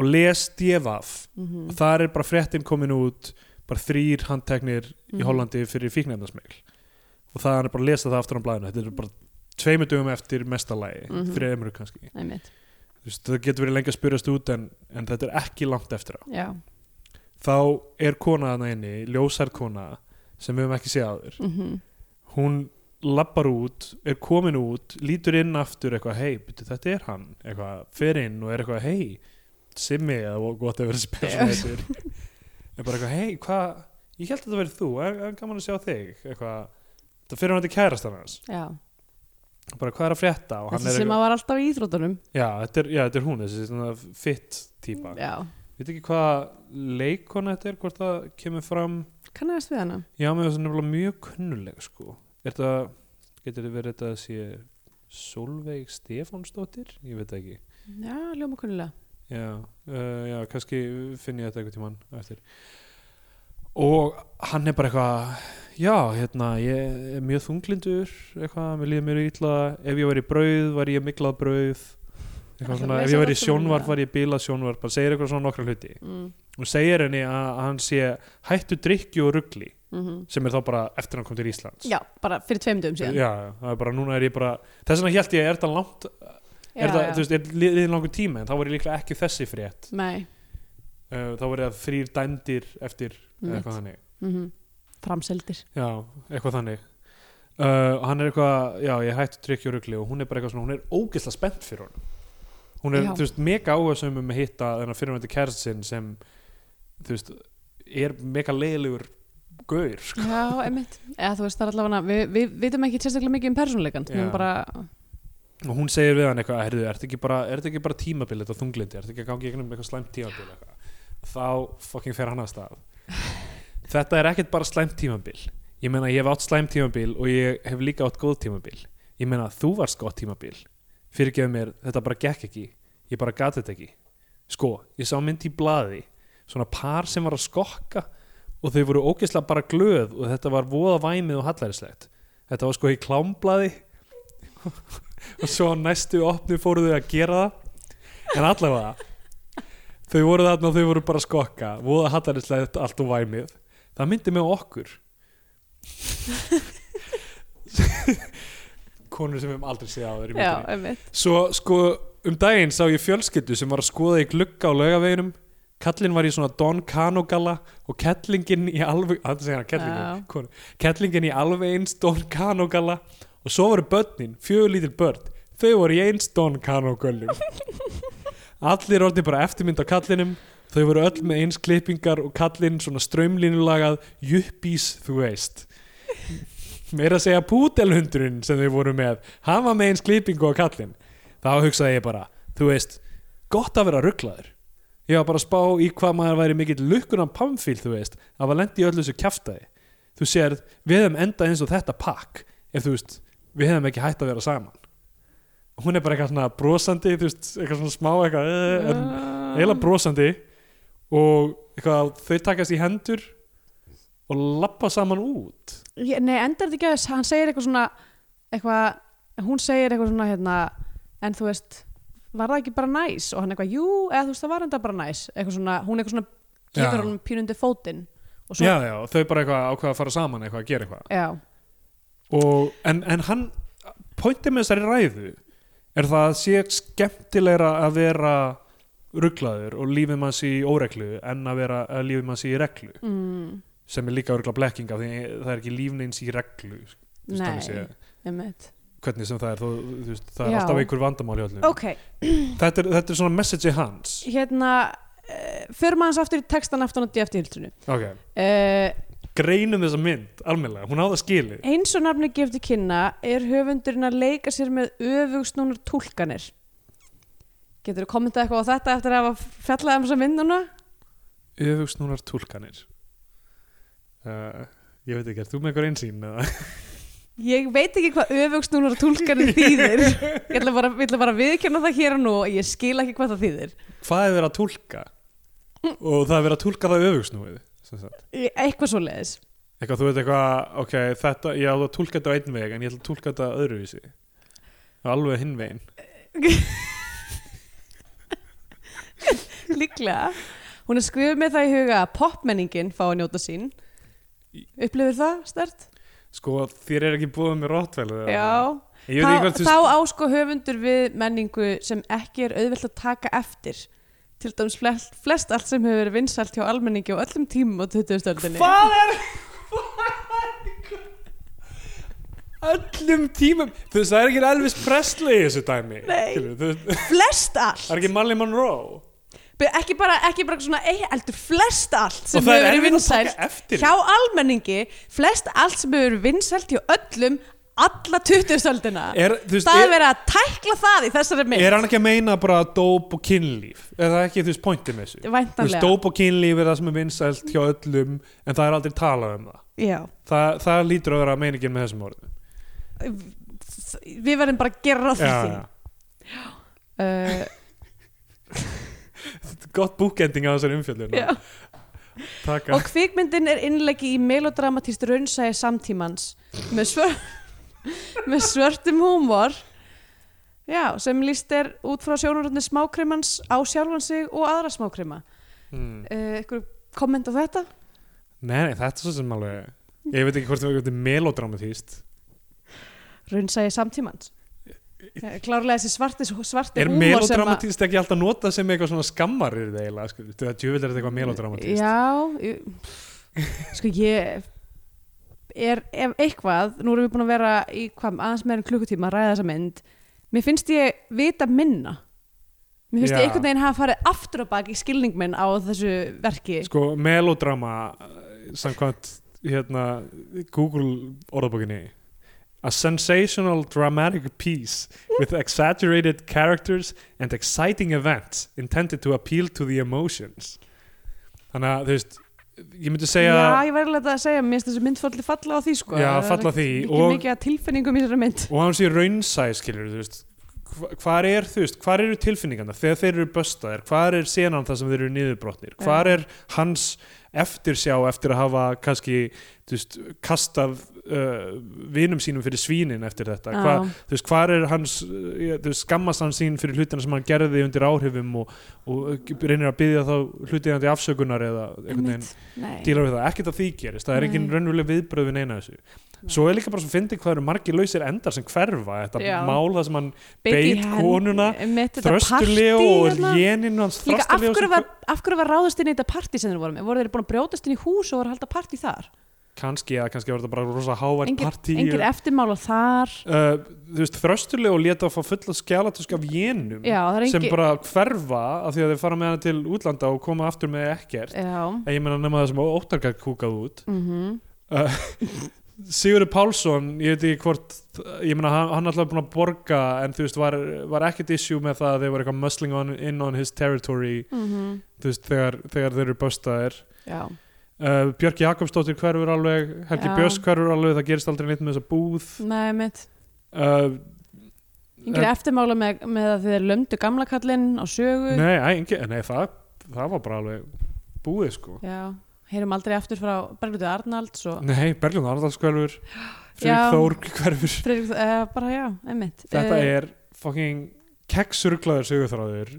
og les divaf Mhm, og þar er bara fréttin komin út bara þrýr handteknir Mhm. í Hollandi fyrir fíknefnarsmegl og það hann er bara að lesa það aftur á blæðinu þetta er bara tveimur dögum eftir mestalagi mm Mhm. -hmm. þreimur kannski einmitt, Þú veist, það getur verið lengi að spyrjast út en, en þetta er ekki langt eftir á já þá er kona þarna inni, ljósar kona sem við höfum ekki séð áður mm hún lappar út, er komin út lítur inn aftur eitthvað, hei byrju, þetta er hann, eitthvað, fer inn og er eitthvað hei, Simmi eða gott að vera spesum heitir er bara eitthvað, hei, hvað ég held að þetta verið þú, er, er gaman að sjá þig eitthvað, það fyrir hann til kærastan hans já, Og bara hvað er að frétta og hann þessi er sem eitthvað, að var alltaf í íþrótunum já, þetta er, já, þetta er hún þessi svona fit típa já, veit ekki hvað leikon þetta er hvort það kemur fram kannast við hana já, mér finnst það nefnilega mjög kunnuleg sko. er það, getur þið verið þetta að sé Solveig Stefánsdóttir ég veit það ekki já, ljóma kunnulega já, uh, já, kannski finn ég þetta eitthvað tímann eftir og hann er bara eitthvað já, hérna, ég er mjög þunglindur eitthvað, mér líður mér illa ef ég væri í brauð, væri ég miklað brauð Ætlar eitthvað svona, að ef lesa ég væri í þetta fyrir mig, sjónvarp eða? væri ég bílað sjónvarp, bara segir eitthvað svona nokkra hluti mm. og segir henni að hann sé hættu drikki og ruggli Mm sem er þá bara eftir hann kom til Íslands já, bara fyrir tveim dögum já, síðan já, það er bara núna er ég bara þess vegna hélt ég, er það langt Já, er það, já. þú veist, er liðin langur tími en þá var ég líklega ekki þessi frétt nei, uh, þá var ég að þrýr dæmdir eftir eða mitt eitthvað þannig mm framseldir já, eitthvað þannig uh, hann er eitthvað, já, ég hætti drikki og rugli og hún er bara eitthvað svona, hún er ógeðslega spennt fyrir honum hún er, Já. þú veist, mega áhersum um að hitta þennan fyrirvændi kærasinn sem þú veist, er mega leiðilegur gaur, sko já, einmitt, eða þú veist það er allavega við, við vitum ekki sérstaklega mikið um persónuleikan við Já. erum bara, og hún segir við hann eitthvað er þetta ekki bara, er þetta ekki bara tímabil þetta þunglindi, er þetta ekki að gangi gegnum eitthvað slæmt tímabil eitthvað. þá fucking fer hann að stað þetta er ekkert bara slæmt tímabil ég meina ég hef átt slæmt tímabil og ég hef líka átt góð tímabil ég meina þú varst gott tímabil fyrirgefðu mér, þetta bara gekk ekki ég bara gat þetta ekki sko, ég sá mynd í blaði svona par sem var að skokka og þau voru ógeðslega bara glöð og þetta var voða væmið og hallarinslegt þetta var sko í klámblaði og svo á næstu opnu fóru þau að gera það en allavega þau voru þarna og þau voru bara að skokka voða hallarinslegt allt og væmið það myndi mig á okkur konur sem við hefum aldrei séð á þeir í myndinni já, einmitt Svo sko um daginn sá ég fjölskyldu sem var að skoða í glugga á laugaveginum Kallinn var í svona Don Cano galla og kettlingin í alveg að segja hann Já. kettlingin, konu, kettlingin í alveg eins Don Cano galla og svo voru börnin, fjögur lítil börn þau voru í eins Don Cano göllum Allir orðin bara eftirmynd á kallinum þau voru öll með eins klippingar og kallinn svona strömlínulagað juppís þú veist meira að segja pútelhundurinn sem þau voru með hann var með eins klippingu á kallinn þá hugsaði ég bara, þú veist gott að vera rugglaður ég var bara að spá í hvað maður væri mikill lukkunan pamfíl, þú veist, að var lendi í öllu þessu kjaftaði, þú sérð, við hefum endað eins og þetta pakk, ef þú veist við hefum ekki hætt að vera saman Og hún er bara eitthvað svona brosandi þú veist, eitthvað svona smá eitthvað eh, en eiginlega brosandi og eitthvað, þau takast í hendur og lappa saman út Ég- Nei, endar þetta ekki að hann segir eitthvað svona eitthvað, hún segir eitthvað svona hérna, en þú veist var það ekki bara næs og hann eitthvað, jú, eða þú veist það var enda bara næs eitthvað svona, hún eitthvað svona Já. gefur honum pínundi fótinn og svo, já, já, þau bara eitthvað ákveða að fara saman eitthvað að gera eitthvað já, og, en, en hann pointið með þessari ræðu er það að sé skemmtilegra að vera rugglaður og lífið manns í óreglu en að vera að lífið manns í reglu mm, sem er líka örgla blekking af því það er ekki lífneins í reglu þú veist, þannig nei, séð. einmitt hvernig sem það er, þú, þú veist, það er Já. alltaf einhver vandamál hjá öllum ok, þetta, er, þetta er svona message hans hérna uh, fyrir maður aftur í textan aftan á DFT hildrunu okay. uh, greinum þessa mynd, almennilega, hún á það skili eins og nafni gefði kynna er höfundurinn að leika sér með öfugsnúnar túlkanir getur þú kommentað eitthvað á þetta eftir að hafa fjallað um þessa mynd núna? öfugsnúnar túlkanir uh, ég veit ekki, er þú með einhver einsýn eða? Ég veit ekki hvað öfugsnúnar túlkanir þýðir Ég ætla bara, ég ætla bara að viðkjöna það hér og nú og ég skil ekki hvað það þýðir hvað er verið að túlka og það er verið að túlka það öfugsnúið sem sagt. Ég- Eitthvað svo leiðis eitthvað, þú veit eitthvað, ok, þetta ég ætla að túlka þetta á einn veg en ég ætla að túlka þetta öðruvísi alveg hinn veginn Líklega Hún er skrifið með það í huga að popmenningin fá að njóta sín Upplifir það stert? sko, þér er ekki búið með rottvælu Já ég veit Þá, ekki hvað þú þá ásko höfundur við menningu sem ekki er auðvelt að taka eftir Til dæmis flest, flest allt sem hefur verið vinsælt hjá almenningi á öllum tímum á 20. stöldinni Hvað er Öllum tímum Þú veist, það er ekki Elvis Presley í þessu dæmi Nei. Skilur, þú veist, Flest allt Það er ekki Marley Monroe Be- ekki bara, ekki bara svona ei- heldur flest allt sem Og hefur það er verið erfitt að vinsælt taka eftir hjá almenningi flest allt sem hefur verið vinsælt hjá öllum alla 20-stöldina Er, þú veist, það er er, verið að tækla það í þessari mynd er hann ekki að meina bara dóp og kynlíf Er það ekki, þú veist, pointið með þessu Þú veist, væntanlega Dóp og kynlíf er það sem er vinsælt hjá öllum En það er aldrei talað um það Já. Það, það lítur að vera meiningin með þessum orðum við verðum bara að gera ráð fyrir Já, því Uh, gott bookending á þessari umfjöldun já. Takk og kvikmyndin er innleggi í melodramatist raunsæði samtímans með, svör með svörtum húmor já, sem líst er út frá sjónuröndin smákrimans á sjálfan sig og aðra smákrima mm. uh, ykkur komment á þetta? Nei, nei, þetta er svo sem alveg Ég veit ekki hvort það er melodramatíst raunsæði samtímans Eh, klárlega þessi svarti, svarti Er húmor sem að- melodramatíst ekki alltaf notað sem eitthvað svona skammarir eiginlega, sko, það djúvill er þetta eitthvað melodramatíst Já, ég- sko ég er, ef eitthvað, nú erum við búin að vera í hvað, aðeins meira en klukkutíma að ræða þessa mynd mér finnst ég vita minna mér finnst Já. ég einhvern veginn hafa farið aftur á bak í skilning minn á þessu verki Sko, melodrama eh, samkvæmt hérna Google orðabókinni A sensational dramatic piece with exaggerated characters and exciting events intended to appeal to the emotions Þannig að, þú veist ég myndi segja Já, ég væri alveg að segja, mér finnst þessi mynd fallið falla á því sko Já, Það er falla á því ekki og- mikið að tilfinningum í þessari mynd og hann sé raunsæ skilur þú veist hva- hvar er þú veist, hvar eru tilfinningarna þegar þeir eru böstaðir, hvar er senan þar sem þeir eru niðurbrotnir, hvar er hans eftirsjá eftir að hafa kannski, þú veist, kastað uh, vinum sínum fyrir svínin eftir þetta, Já. hvar, þú veist, hvar er hans uh, ég- þú veist, skammast hann sín fyrir hlutina sem hann gerði undir áhrifum og, og reynir að byggja þá hlutinandi afsökunar eða einhvern veginn Einmitt. Nei. dílar við það, ekkert að því gerist það er ekki Nei. raunveruleg viðbröð við neina þessu svo er líka bara svo fyndið hvað eru margir lausir endar sem hverfa, þetta Já. mál það sem hann Beitty beit Hand, konuna, einmitt, eh, þetta þröstulegu partí og hérna. léninu hans Líka af þröstulegu hverju, sem- var, af hverju var ráðast inn í þetta partí sem þeir voru með? Voru þeir búin að brjótast inn í hús og voru að halda partí þar? kannski, eða kannski var þetta bara rosa hávært Engir, partí engir uh, eftirmála þar þú veist, þröstulegu leta að fá fulla skjálatösk af jénum Já, það er sem engir bara hverfa af því að þeir fara með hana til útlanda og koma aftur með ekkert Já, en ég meina nema það sem óttarkar kúkað út mm Sigurður Pálsson, ég veit ekki hvort ég meina hann, hann alltaf búin að borga en þú veist var, var ekkert issue með það að þeir voru eitthvað muscling on, in on his territory þú veist þegar, þegar þeir eru böstaðir mhm. já uh, Björk Jakobsdóttir hverfur alveg Helgi Já. Björns hverfur alveg, það gerist aldrei neitt með þessa búð Nei, mitt uh, Engir eftirmála með, með að þeir lömdu gamla kallinn á sögu nei, æ, engi, nei það, það var bara alveg búið sko Já, heyrum aldrei aftur frá Berglutu Arnalds og nei, Berglund Arndals hverfur Já. Freyr Þór hverfur Friðrik, uh, bara já, einmitt Eh, Þetta er fucking keksurglaður sögurþráður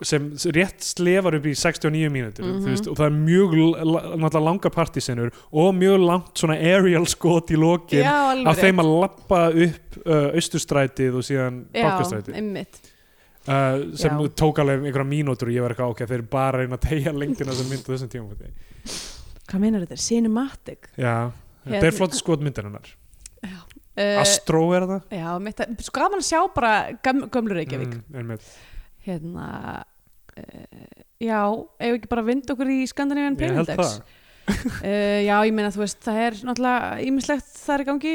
sem rétt slefar upp í 69 mínútur mm veist, Mhm. og það er mjög l- la- náttúrulega langar partísinur og mjög langt svona aerial skot í lokin já, alveg af rétt. þeim að lappa upp uh, austurstrætið og síðan já, bakkastrætið einmitt uh, sem Já. tók alveg einhverja mínútur og ég var eitthvað ok, þeir eru bara að reyna að tegja lengdina sem mynd á þessum tímum hvað meinar þetta, cinematic Já, þetta er Hérna. flott skot myndarinnar uh, Astro er það já, mitt, að- sko gaman að sjá bara göm, gömlu Reykjavík Mm, einmitt. hérna uh, já, ef ekki bara vind okkur í Scandinavian Ég held Penindex það uh, já, ég meina þú veist, það er náttúrulega ímislegt þar í gangi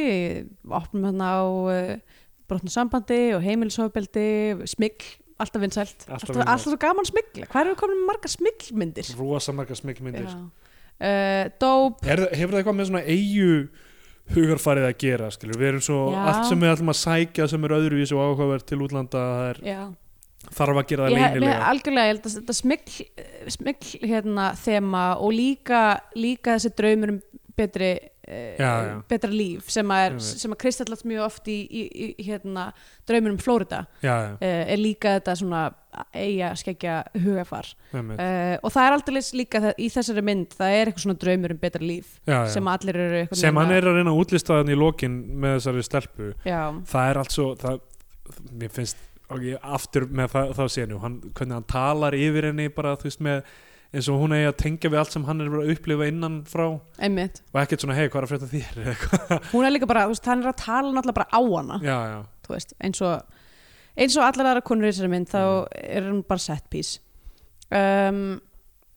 opnum hérna á uh, brotnum sambandi og heimilisofbeldi smigl, alltaf vinsælt Alltaf alltaf, vinsælt. alltaf svo gaman smigla, hvað erum við komin með marga smiglmyndir? Rosa margar smekkmyndir Já. Uh, dóp Er, hefur það eitthvað með svona eigu hugarfarið að gera, skilur, við erum svo Já. allt sem við ætlum að sækja sem er öðruvísi og áhugaverð til útlanda, það er, já. þarf að gera það Ég hef leynilega algjörlega, ég held að þetta smikl, smikl hérna þema og líka, líka þessi draumur um betri, eh, Já, já. betra líf sem að, er, Ég veit. sem að kristallast mjög oft í, í, í hérna, draumur um Flórida Já, já, eh, er líka þetta svona eiga skeggja hugafar einmitt. eh, og það er aldrei líka það, í þessari mynd það er eitthvað svona draumur um betra líf já, já. sem allir eru eitthvað sem hann er að reyna að útlista þannig í lokin með þessari stelpu já, það er allt svo það, mér finnst og ég aftur með það, það sénu hann, hvernig hann talar yfir henni bara þú veist með eins og hún eigi að tengja við allt sem hann er verið að upplifa innan frá og einmitt ekkert svona hei hvað er að frétta af þér eða eitthvað hún er líka bara, þú veist, hann er að tala náttúrulega bara á hana já, já, þú veist, eins og eins og allar aðra konur í þessari mynd þá Mm. er hún bara set piece um,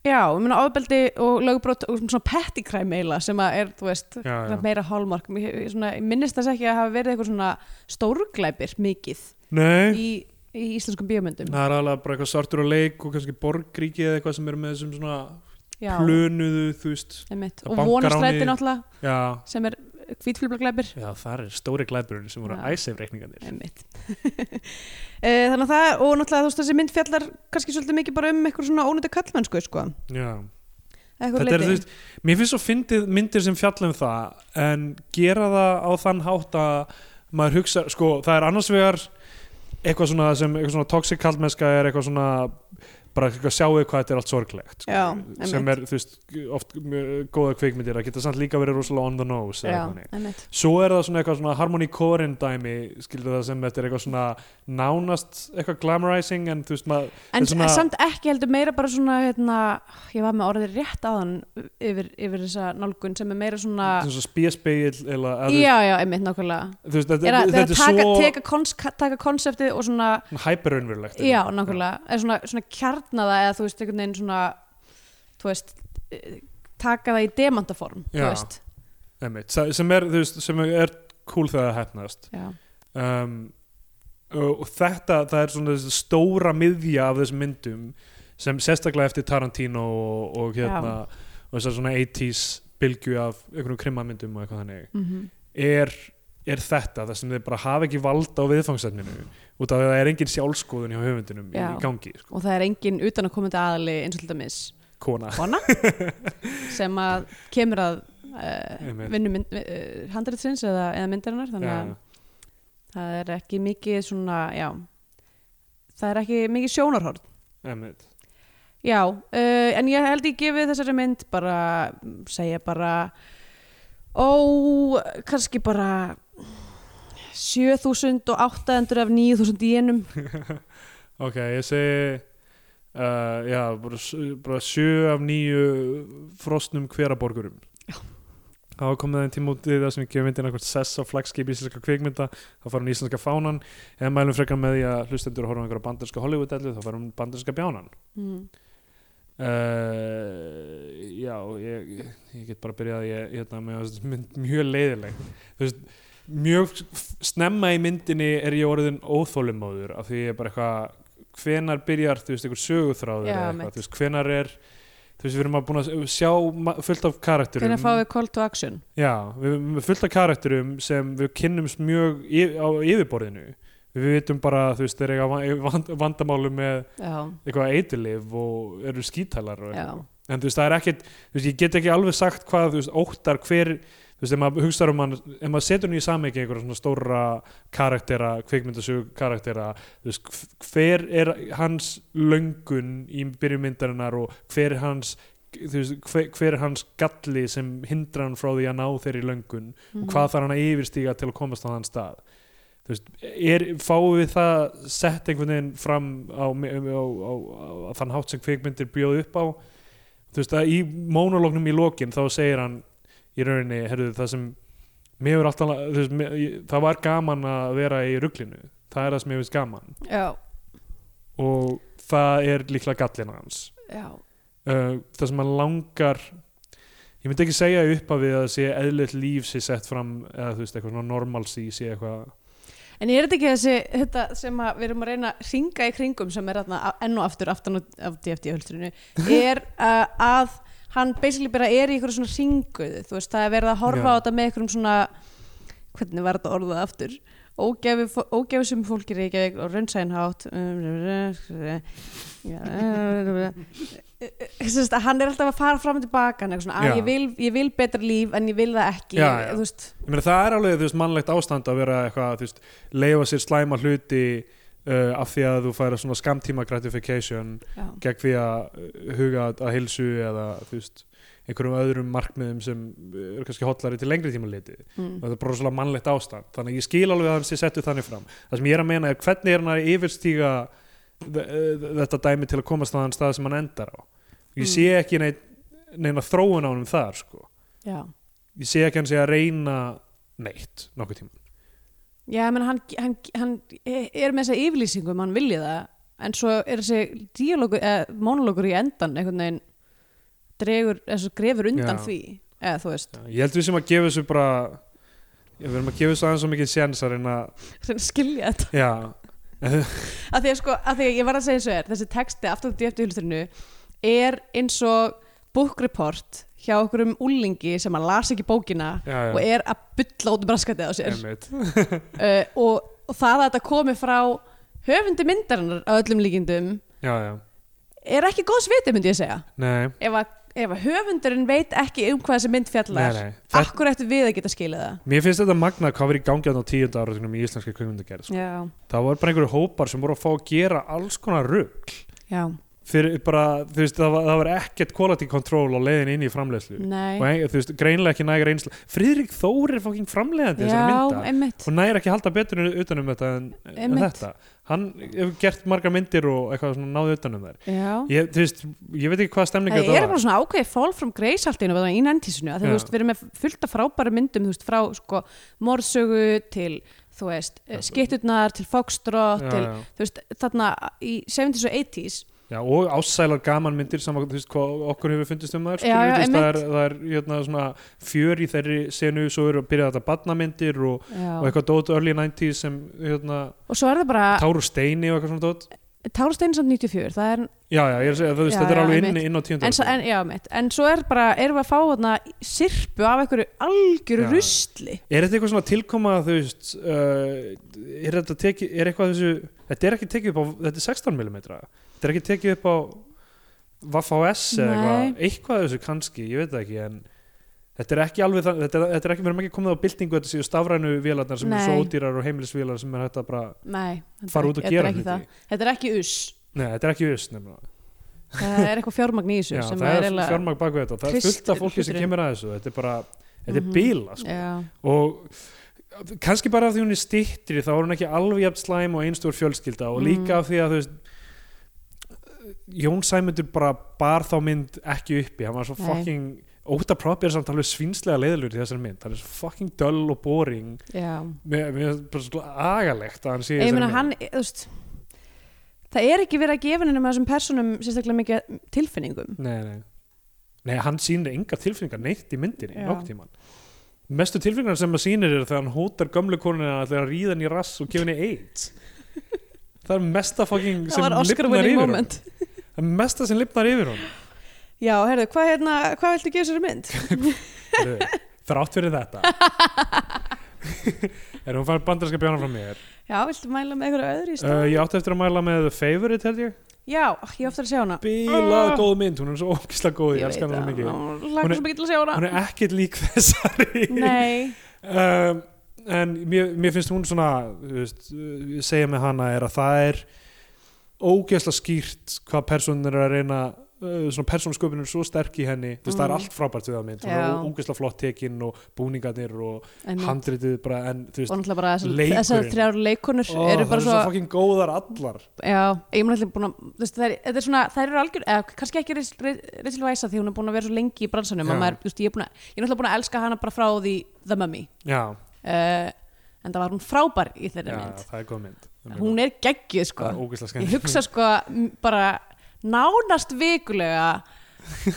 já, ég meina ofbeldi og lögbrot og svona petty crime eila sem að er, þú veist, já, já. meira hálmark ég, ég svona, ég minnist þess ekki að hafa verið eitthvað svona stórglæpir mikið nei, í, í íslenskum bíómyndum það er alveg bara eitthvað sartur og leik og kannski borgríki eða eitthvað sem eru með þessum svona já, plönuðu þú veist einmitt, Og og bankaráni. vonastræti náttúrulega já, sem er hvítflöflaglæpir já það er stóri glæburinn sem voru Já. æsef reikningarnir Einmitt. Eh, Þannig að það og náttúrulega þú veist þessi mynd fjallar kannski svolítið mikið bara um eitthvað svona ónýta kallmennsku sko. já Eitthvað þetta er, þú veist, mér finnst svo fyndið myndir sem fjalla um það en gera það á þann hátt að maður hugsa, sko, það er annars vegar eitthvað svona sem eitthvað svona toxic kaldmennska er eitthvað svona bara eitthvað sjáu hvað þetta er allt sorglegt sko, Já, sem einmitt. er, þú veist, oft mjög góða kvikmyndir að geta samt líka verið rosalega on the nose eða Já, eitthvað þannig. einmitt. svo er það svona eitthvað svona harmony corin dæmi skilur það sem þetta er eitthvað svona nánast eitthvað glamorizing en þú veist maður En En svona- samt ekki heldur meira bara svona hérna, ég var með orðið rétt áðan yfir, yfir þessa nálgun sem er meira svona þetta er svona spíaspegil eða eða þú Ah. veist- Já, já, einmitt nákvæmlega þú veist, þetta Er að, þetta þetta er taka, svo teka kons, taka konseptið og svona, hæperunverulegt já, nákvæmlega eða svona, svona kjarnaða eða þú veist einhvern veginn svona, þú veist eh, taka það í demantaform þú Já. veist, Einmitt, sa- sem er, þú veist, sem er cool þegar það hefnast já, um, og og þetta, það er svona þessi stóra miðja af þessum myndum sem sérstaklega eftir Tarantino og, og hérna og þessar svona 80s bylgju af einhverjum krimmamyndum og eitthvað þannig mm er, er þetta, það sem þeir bara hafa ekki vald á viðfangsefninu út af því að það er engin sjálfskoðun hjá höfundinum í, Já. í gangi, sko, og það er engin utan að komandi aðali eins og til dæmis kona kona sem að kemur að uh, Einmitt. vinnu mynd, uh, handritsins eða, eða myndarinnar þannig að Já. það er ekki mikið svona, já það er ekki mikið sjónarhorn Einmitt. já, uh, en ég held ég gefið þessari mynd bara, segja bara ó kannski bara 7800 af 9000 jenum Ok, ég segi uh, já, bara, s- bara sjö af nýju frostnum hveraborgurum þá er komið einn tíma út í það sem ég gefið myndin eitthvað sess á flagskip íslenska kvikmynda þá fara hún íslenska fánan eða mælum frekar með því að hlustendur horfa á einhverja banderska Hollywood-ellu þá fara hún banderska bjánan mm. Uh, já, ég, ég get bara byrjað ég, hérna, með þessi mynd mjög leiðileg þú veist, mjög snemma í myndinni er ég orðin óþólimáður af því ég er bara eitthvað hvenar byrjar, þú veist, einhver söguþráður Já, eða mitt. eitthvað, þú veist, hvenar er þú veist, við erum að búin að sjá ma- fullt af karakterum hvernig fáum við call to action já, við erum fullt af karakterum sem við kynnumst mjög yf á yfirborðinu við vitum bara, þú veist, þeir eiga van- vand- vandamálu með já, eitthvað eitilif og eru skítælar og já en þú veist það er ekkit, þú veist ég get ekki alveg sagt hvað þú veist óttar hver þú veist, ef maður hugsaður um hann ef maður setur hann í sameiki einhverja svona stóra karaktera, kvikmyndasögu karaktera þú veist, hv- hver er hans löngun í byrjumyndarinnar og hver er hans þú veist, hver, hver er hans galli sem hindra hann frá því að ná þeirri löngun Mm. og hvað þarf hann að yfirstíga til að komast á þann stað þú veist, er, fáum við það sett einhvern veginn fram á, á, á, á, á þann hátt sem kvikmyndir bjóð upp á þú veist að í mónolognum í lokin þá segir hann í rauninni, herrðu það sem mér hefur alltaf, þú veist, mér, ég- það var gaman að vera í ruglinu, það er það sem ég veist gaman já, og það er líklega gallin hans já, uh, það sem hann langar ég myndi ekki segja upp af við að sé eðlitt líf sé sett fram eða þú veist eitthvað svona normalcy sé eitthvað En er þetta ekki þessi, þetta sem að við erum að reyna að ringa í kringum sem er þarna a- enn og aftur aftan á- af DFT-hulstrinu er uh, að hann basically bara er í ykkur svona ringuðu, þú veist, það er verið að horfa á Já. þetta með ykkur svona hvernig var þetta orðað aftur ógefi, ógefi sem fólki reykja og raunnsæðinhátt Sest, að hann er alltaf að fara fram og tilbaka hann er eitthvað svona, Já. að ég vil, ég vil betra líf en ég vil það ekki Já, já. þú veist, ég meina það er alveg þú veist mannlegt ástand að vera eitthvað þú veist leifa sér slæma hluti uh, af því að þú færa svona skamtíma gratification já, gegn því að uh, huga að, að hilsu eða þú veist einhverjum öðrum markmiðum sem eh, eru kannski hotlari til lengri tíma liti mm, þetta er bara svolítið mannlegt ástand þannig að ég skil alveg að hann sé settu þannig fram það sem ég er að meina er hvernig er hann að yfirstíga þ- eh, þetta dæmi til að komast á þann stað sem hann endar á ég sé ekki neitt, neina þróun á hann þar sko. já ég sé ekki hann sé að reyna neitt nokkuð tíma Já, menn hann, hann, hann er með þessa yfirlýsingu um hann vilja það en svo er þessi díalogu, eða, monologur í endan einhvern veginn dregur, eða svo grefur undan Já. því eða þú veist, ég held við sem að gefa þessu bara já, við erum að gefa þessu aðeins svo mikið sénsar en að sem skilja þetta já, að því að sko, að því að ég var að segja eins og er þessi texti aftur út í eftir hulstrinu er eins og book report hjá okkur um úlingi sem að las ekki bókina já, og já, er að bylla út um raskatið á sér einmitt. uh, og, og það að þetta komi frá höfundi myndarinnar á öllum líkindum já, já. er ekki góðs viti myndi ég segja Nei, ef að, ef að höfundurinn veit ekki um hvað þessi mynd fjallar nei, nei. Þetta, akkur ættu við að geta skilið það mér finnst þetta magna hvað verið í gangi þarna á tíunda áratunum í íslenska kvikmyndagerð sko. já, það var bara einhverju hópar sem voru að fá að gera alls konar rugg já, fyrir bara, þú veist, það var, það var ekkert quality control á leiðin inn í framleiðslu nei og ein, þú veist, greinlega ekki nægir einsla Friðrik Þór er fokking framleiðandi já, þessari mynda einmitt og nægir ekki að halda betur utan um þetta en, en Einmitt. þetta hann hefur gert marga myndir og eitthvað svona náði utan um þær já. ég, þú veist, ég veit ekki hvað stemninga það er þetta bara var svona ákveðið fall from grace allt einu við það í næntísinu að Já. þú veist, við erum með fullt af frábæra myndum þú veist, frá sko morsögu til, þú veist, Já. skitturnar til foxtrot, Já, til, já. þú veist, þarna í 70s og 80s Já, og ásælar gaman myndir sem þú veist hvað okkur hefur fundist um þær Já, skilur, já, þú veist, það er, einmitt. það er jötna, svona, fjör í þeirri senu svo eru að byrja þetta badnamyndir og, og já. eitthvað dót early 90s sem jötna, og svo er það bara Táru Steini og eitthvað svona dót Társteinsamt 94, það er Já, já, ég er að segja, þú veist, Já, þetta er já, alveg inn, einmitt. inn á tíundu en, svo, en, já, mitt, en svo er bara, erum við að fá þarna sirpu af einhverju algjöru Já. rusli Er þetta eitthvað svona tilkoma, þú veist uh, er þetta tekið, er eitthvað þessu þetta er ekki tekið upp á, þetta er 16mm þetta er ekki tekið upp á Vaff S eða Nei. eitthvað eitthvað af þessu kannski, ég veit það ekki en þetta er ekki alveg þannig, þetta, er- þetta er ekki, við erum ekki komið á byltingu þetta séu stafrænu vélarnar sem eru Nei. svo ódýrar og heimilisvélar sem er hægt að bara Nei, þetta fara er út og ekki- þetta er gera ekki hluti það. Þetta er ekki us, Nei, þetta er ekki vist nefnilega það er eitthvað fjármagn í þessu Já, sem það er eiginlega- fjármagn baku þetta, það er trist fullt af fólki sem hluturinn. kemur að þessu, þetta er bara þetta Mhm. er bíla, sko Já, og kannski bara af því hún er stittri þá er hún ekki alveg jafn slæm og einstór fjölskylda og Mm. líka af því að þú veist Jón Sæmundur bara bar þá mynd ekki uppi, hann var svo Nei. fucking Óta Proppi er samt alveg svinslega leiðlur í þessari mynd, hann er svo fucking dull og boring já mér mér er bara svo agalegt að hann sé í Ég þessari meina mynd. hann, þú veist Það er ekki verið að gefa henni með þessum personum sérstaklega mikið tilfinningum Nei, nei. Nei, hann sýnir enga tilfinningar neitt í myndinni, Já. nokk tíman. Mestu tilfinningar sem hann sýnir er þegar hann hótar gömlu konuna að þegar hann ríða hann í rass og gefa henni eitt. Það er mesta fucking Það sem var Oscar lifnar winning yfir hún. moment Það er mesta sem lifnar yfir hún. Já, herðu, hvað hérna, hvað viltu gefa sér mynd? Heyrðu, Þrátt fyrir þetta. er hún fann bandarska bjána frá mér. Já, viltu mæla með einhverju öðru í stað? Uh, ég átti eftir að mæla með The Favourite, held ég. já, ég hef eftir að sjá hana Ah. bílað góð mynd, hún er svo ógislega góð ég elska hana svo mikið Hún langar er- svo mikið til að sjá hún hana er ekkert lík þessari nei, um, en mér, mér finnst hún svona þú veist, ég segja með hana er að það er ógeðslega skýrt hvað personur er að reyna uh, svona persónsköpun er svo sterk í henni þú veist það er Mm. allt frábært við það mynd hún Já. er ógeðslega flott tekinn og búningarnir og en og handritið bara en þú veist náttúrulega bara þessar- leikurinn. þessar þrjár leikunur ó, eru það bara eru svo svo fucking góðar allar Já, ég mun alltaf búin að þú veist, þær, þetta er svona, þær eru algjör eða kannski ekki Rachel Weisz því hún er búin að vera svo lengi í bransanum Já. að maður, þú veist, ég er búin að ég er alltaf búin að elska hana bara frá því The Mummy já, uh, en það var hún frábær í já, þeirri mynd það er góð mynd Það mjög góð. hún er geggið sko Það er ógeðslega ég skemmt hugsa sko m- bara nánast vikulega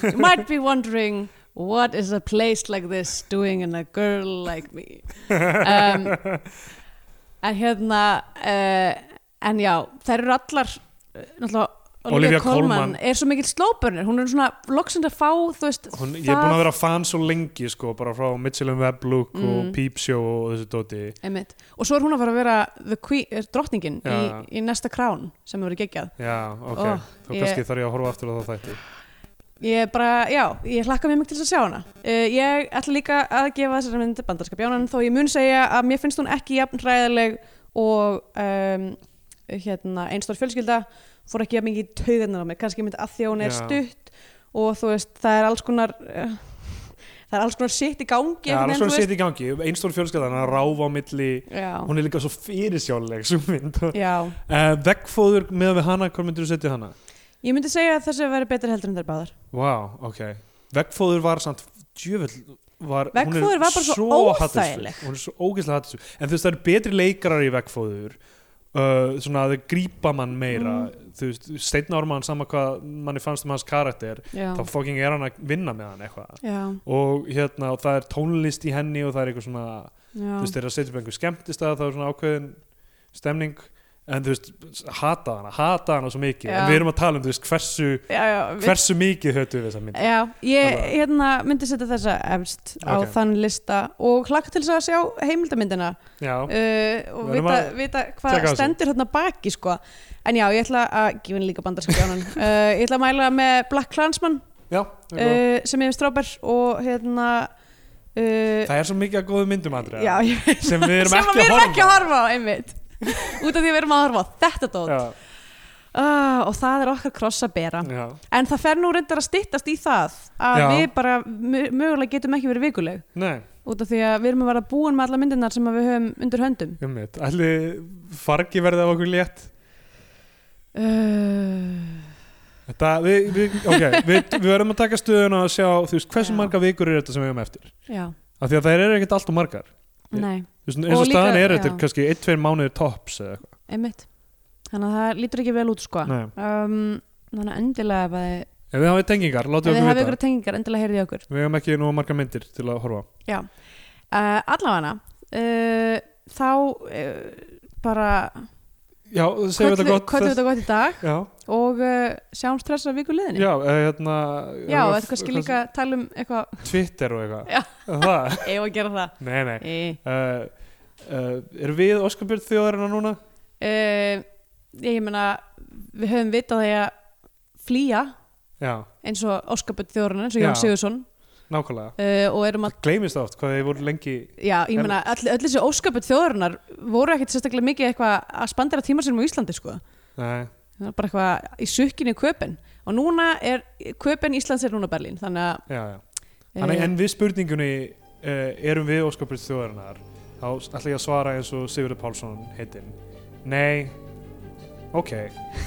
you might be wondering what is a place like this doing in a girl like me um, en hérna uh, en já, þær eru allar uh, náttúrulega Olivia Olivia Colman Colman. er svo mikill slóbörnir hún er svona loksins að fá þú veist Hún, ég er búin að vera fan svo lengi sko, bara frá Mitchell Web Look og Mm. Peep Show og þessu dóti einmitt. og svo er hún að fara að vera the queen, er drottningin Já. í, í næsta krán sem hefur geggjað Já, ok, Ó, þá ég- kannski þarf ég að horfa aftur á það þætti Ég bara, já, ég hlakka mjög mikið til þess að sjá hana. Uh, ég ætla líka að gefa þessari mynd bandarska bjánan þó ég mun segja að mér finnst hún ekki jafn hræðileg og um, hérna, einstór fjölskylda fór ekki jafn mikið í taugarnar á mig. Kannski mynd að því að hún er Já. stutt og þú veist, það er alls konar, uh, það er alls konar sitt í gangi. Já, einhvern alveg veginn, svona setja í gangi, einstól fjölskyldan að ráfa á milli, þú veist. hún er líka svo fyrirsjáleg svo mynd uh, Já, já. Vegfóður með við hana, hvað myndir þú setja hana? Ég myndi segja að þessi veri betur heldur en þær báðar. Vá, ok Vegfóður var samt, djöfell var, hún er Veggfóður var bara svo hattursfull. óþægileg. Hún er svo ógeðslega hattisfull En þú veist, það eru betri leikarar í vegfóður Uh, svona að þau grípa mann meira Mm. þú veist, Steinn Ármann sama hvað manni fannst um hans karakter Já, þá fucking er hann að vinna með hann eitthvað já, og hérna og það er tónlist í henni og það er eitthvað svona, já. þú veist, þeir eru að setja upp einhver skemmtist að það er svona ákveðin stemning en þú veist, hata hana hata hana svo mikið, Já. en við erum að tala um þú veist, hversu, já, já, við- hversu mikið hötu við þessa mynd Já, ég Alveg. hérna, myndi setja þessa efst á Ok. þann lista og hlakka til þess að sjá heimildamyndina Já, uh, og Við erum vita, að vita taka hvað þessu. stendur hérna baki sko. en já, ég ætla að gefa henni líka bandarskapjánan uh, ég ætla að mæla með Black Klansman já, það er góð. uh, sem ég er stráber og hérna uh, það er svo mikið að góðu myndum andri já, ég, sem við erum sem ekki að við að erum horfa ekki að horfa á einmitt út af því að við erum að horfa á þetta dót Já, uh, og það er okkar kross að bera já, en það fer nú reyndar að styttast í það að Já. við bara mu- mögulega getum ekki verið vikuleg nei, út af því að við erum að vera búin með alla myndirnar sem að við höfum undir höndum um mitt Ætli fargi verði af okkur létt uh, Þetta, við, við, ok, við, við verðum að taka stöðuna og sjá, þú veist, hversu Já. marga vikur er þetta sem við höfum eftir? Já, Af því að það eru ekkert allt og margar Ég- nei, Þú veist, eins og, Og líka- staðan er þetta já. er kannski 1-2 mánuðir tops eða eitthvað einmitt þannig að það lítur ekki vel út sko um, Nei. þannig að endilega ef, að- ef við hafið tengingar, ef látið þið okkur hafið vita ykkur tengingar endilega heyrið í okkur við hefum ekki nú marga myndir til að horfa á. Já, uh, allavega uh, þá uh, bara já, segjum köllum- þetta gott köllum þetta gott í dag já, og uh, sjáumst þessar viku liðinni já, eh, hérna Já, eh, þetta kannski líka tala um eitthvað Twitter og eitthvað Já. Er það, Ef að gera það nei, nei Í. uh, uh, erum við Óskarbjörn þjóðarinn núna? uh, ég meina við höfum vitað því að flýja já, eins og Óskarbjörn Þjórunar eins og Já. Jón Sigurðsson nákvæmlega uh, og erum að gleymist það oft hvað þið voru lengi Já, ég meina, öll, öll þessi ósköpun þjóðurinnar voru ekkit sérstaklega mikið eitthvað að spandera tíma sinum á Íslandi, sko. nei, Það var bara eitthvað í sukkinu í köpen. Og núna er, köpen Íslands er núna Berlín, þannig að... já, já. Eh. Þannig, en við spurningunni uh, erum við óskapur þjóðarinnar þá ætla ég að svara eins og Sigurður Pálsson heitinn Nei, ok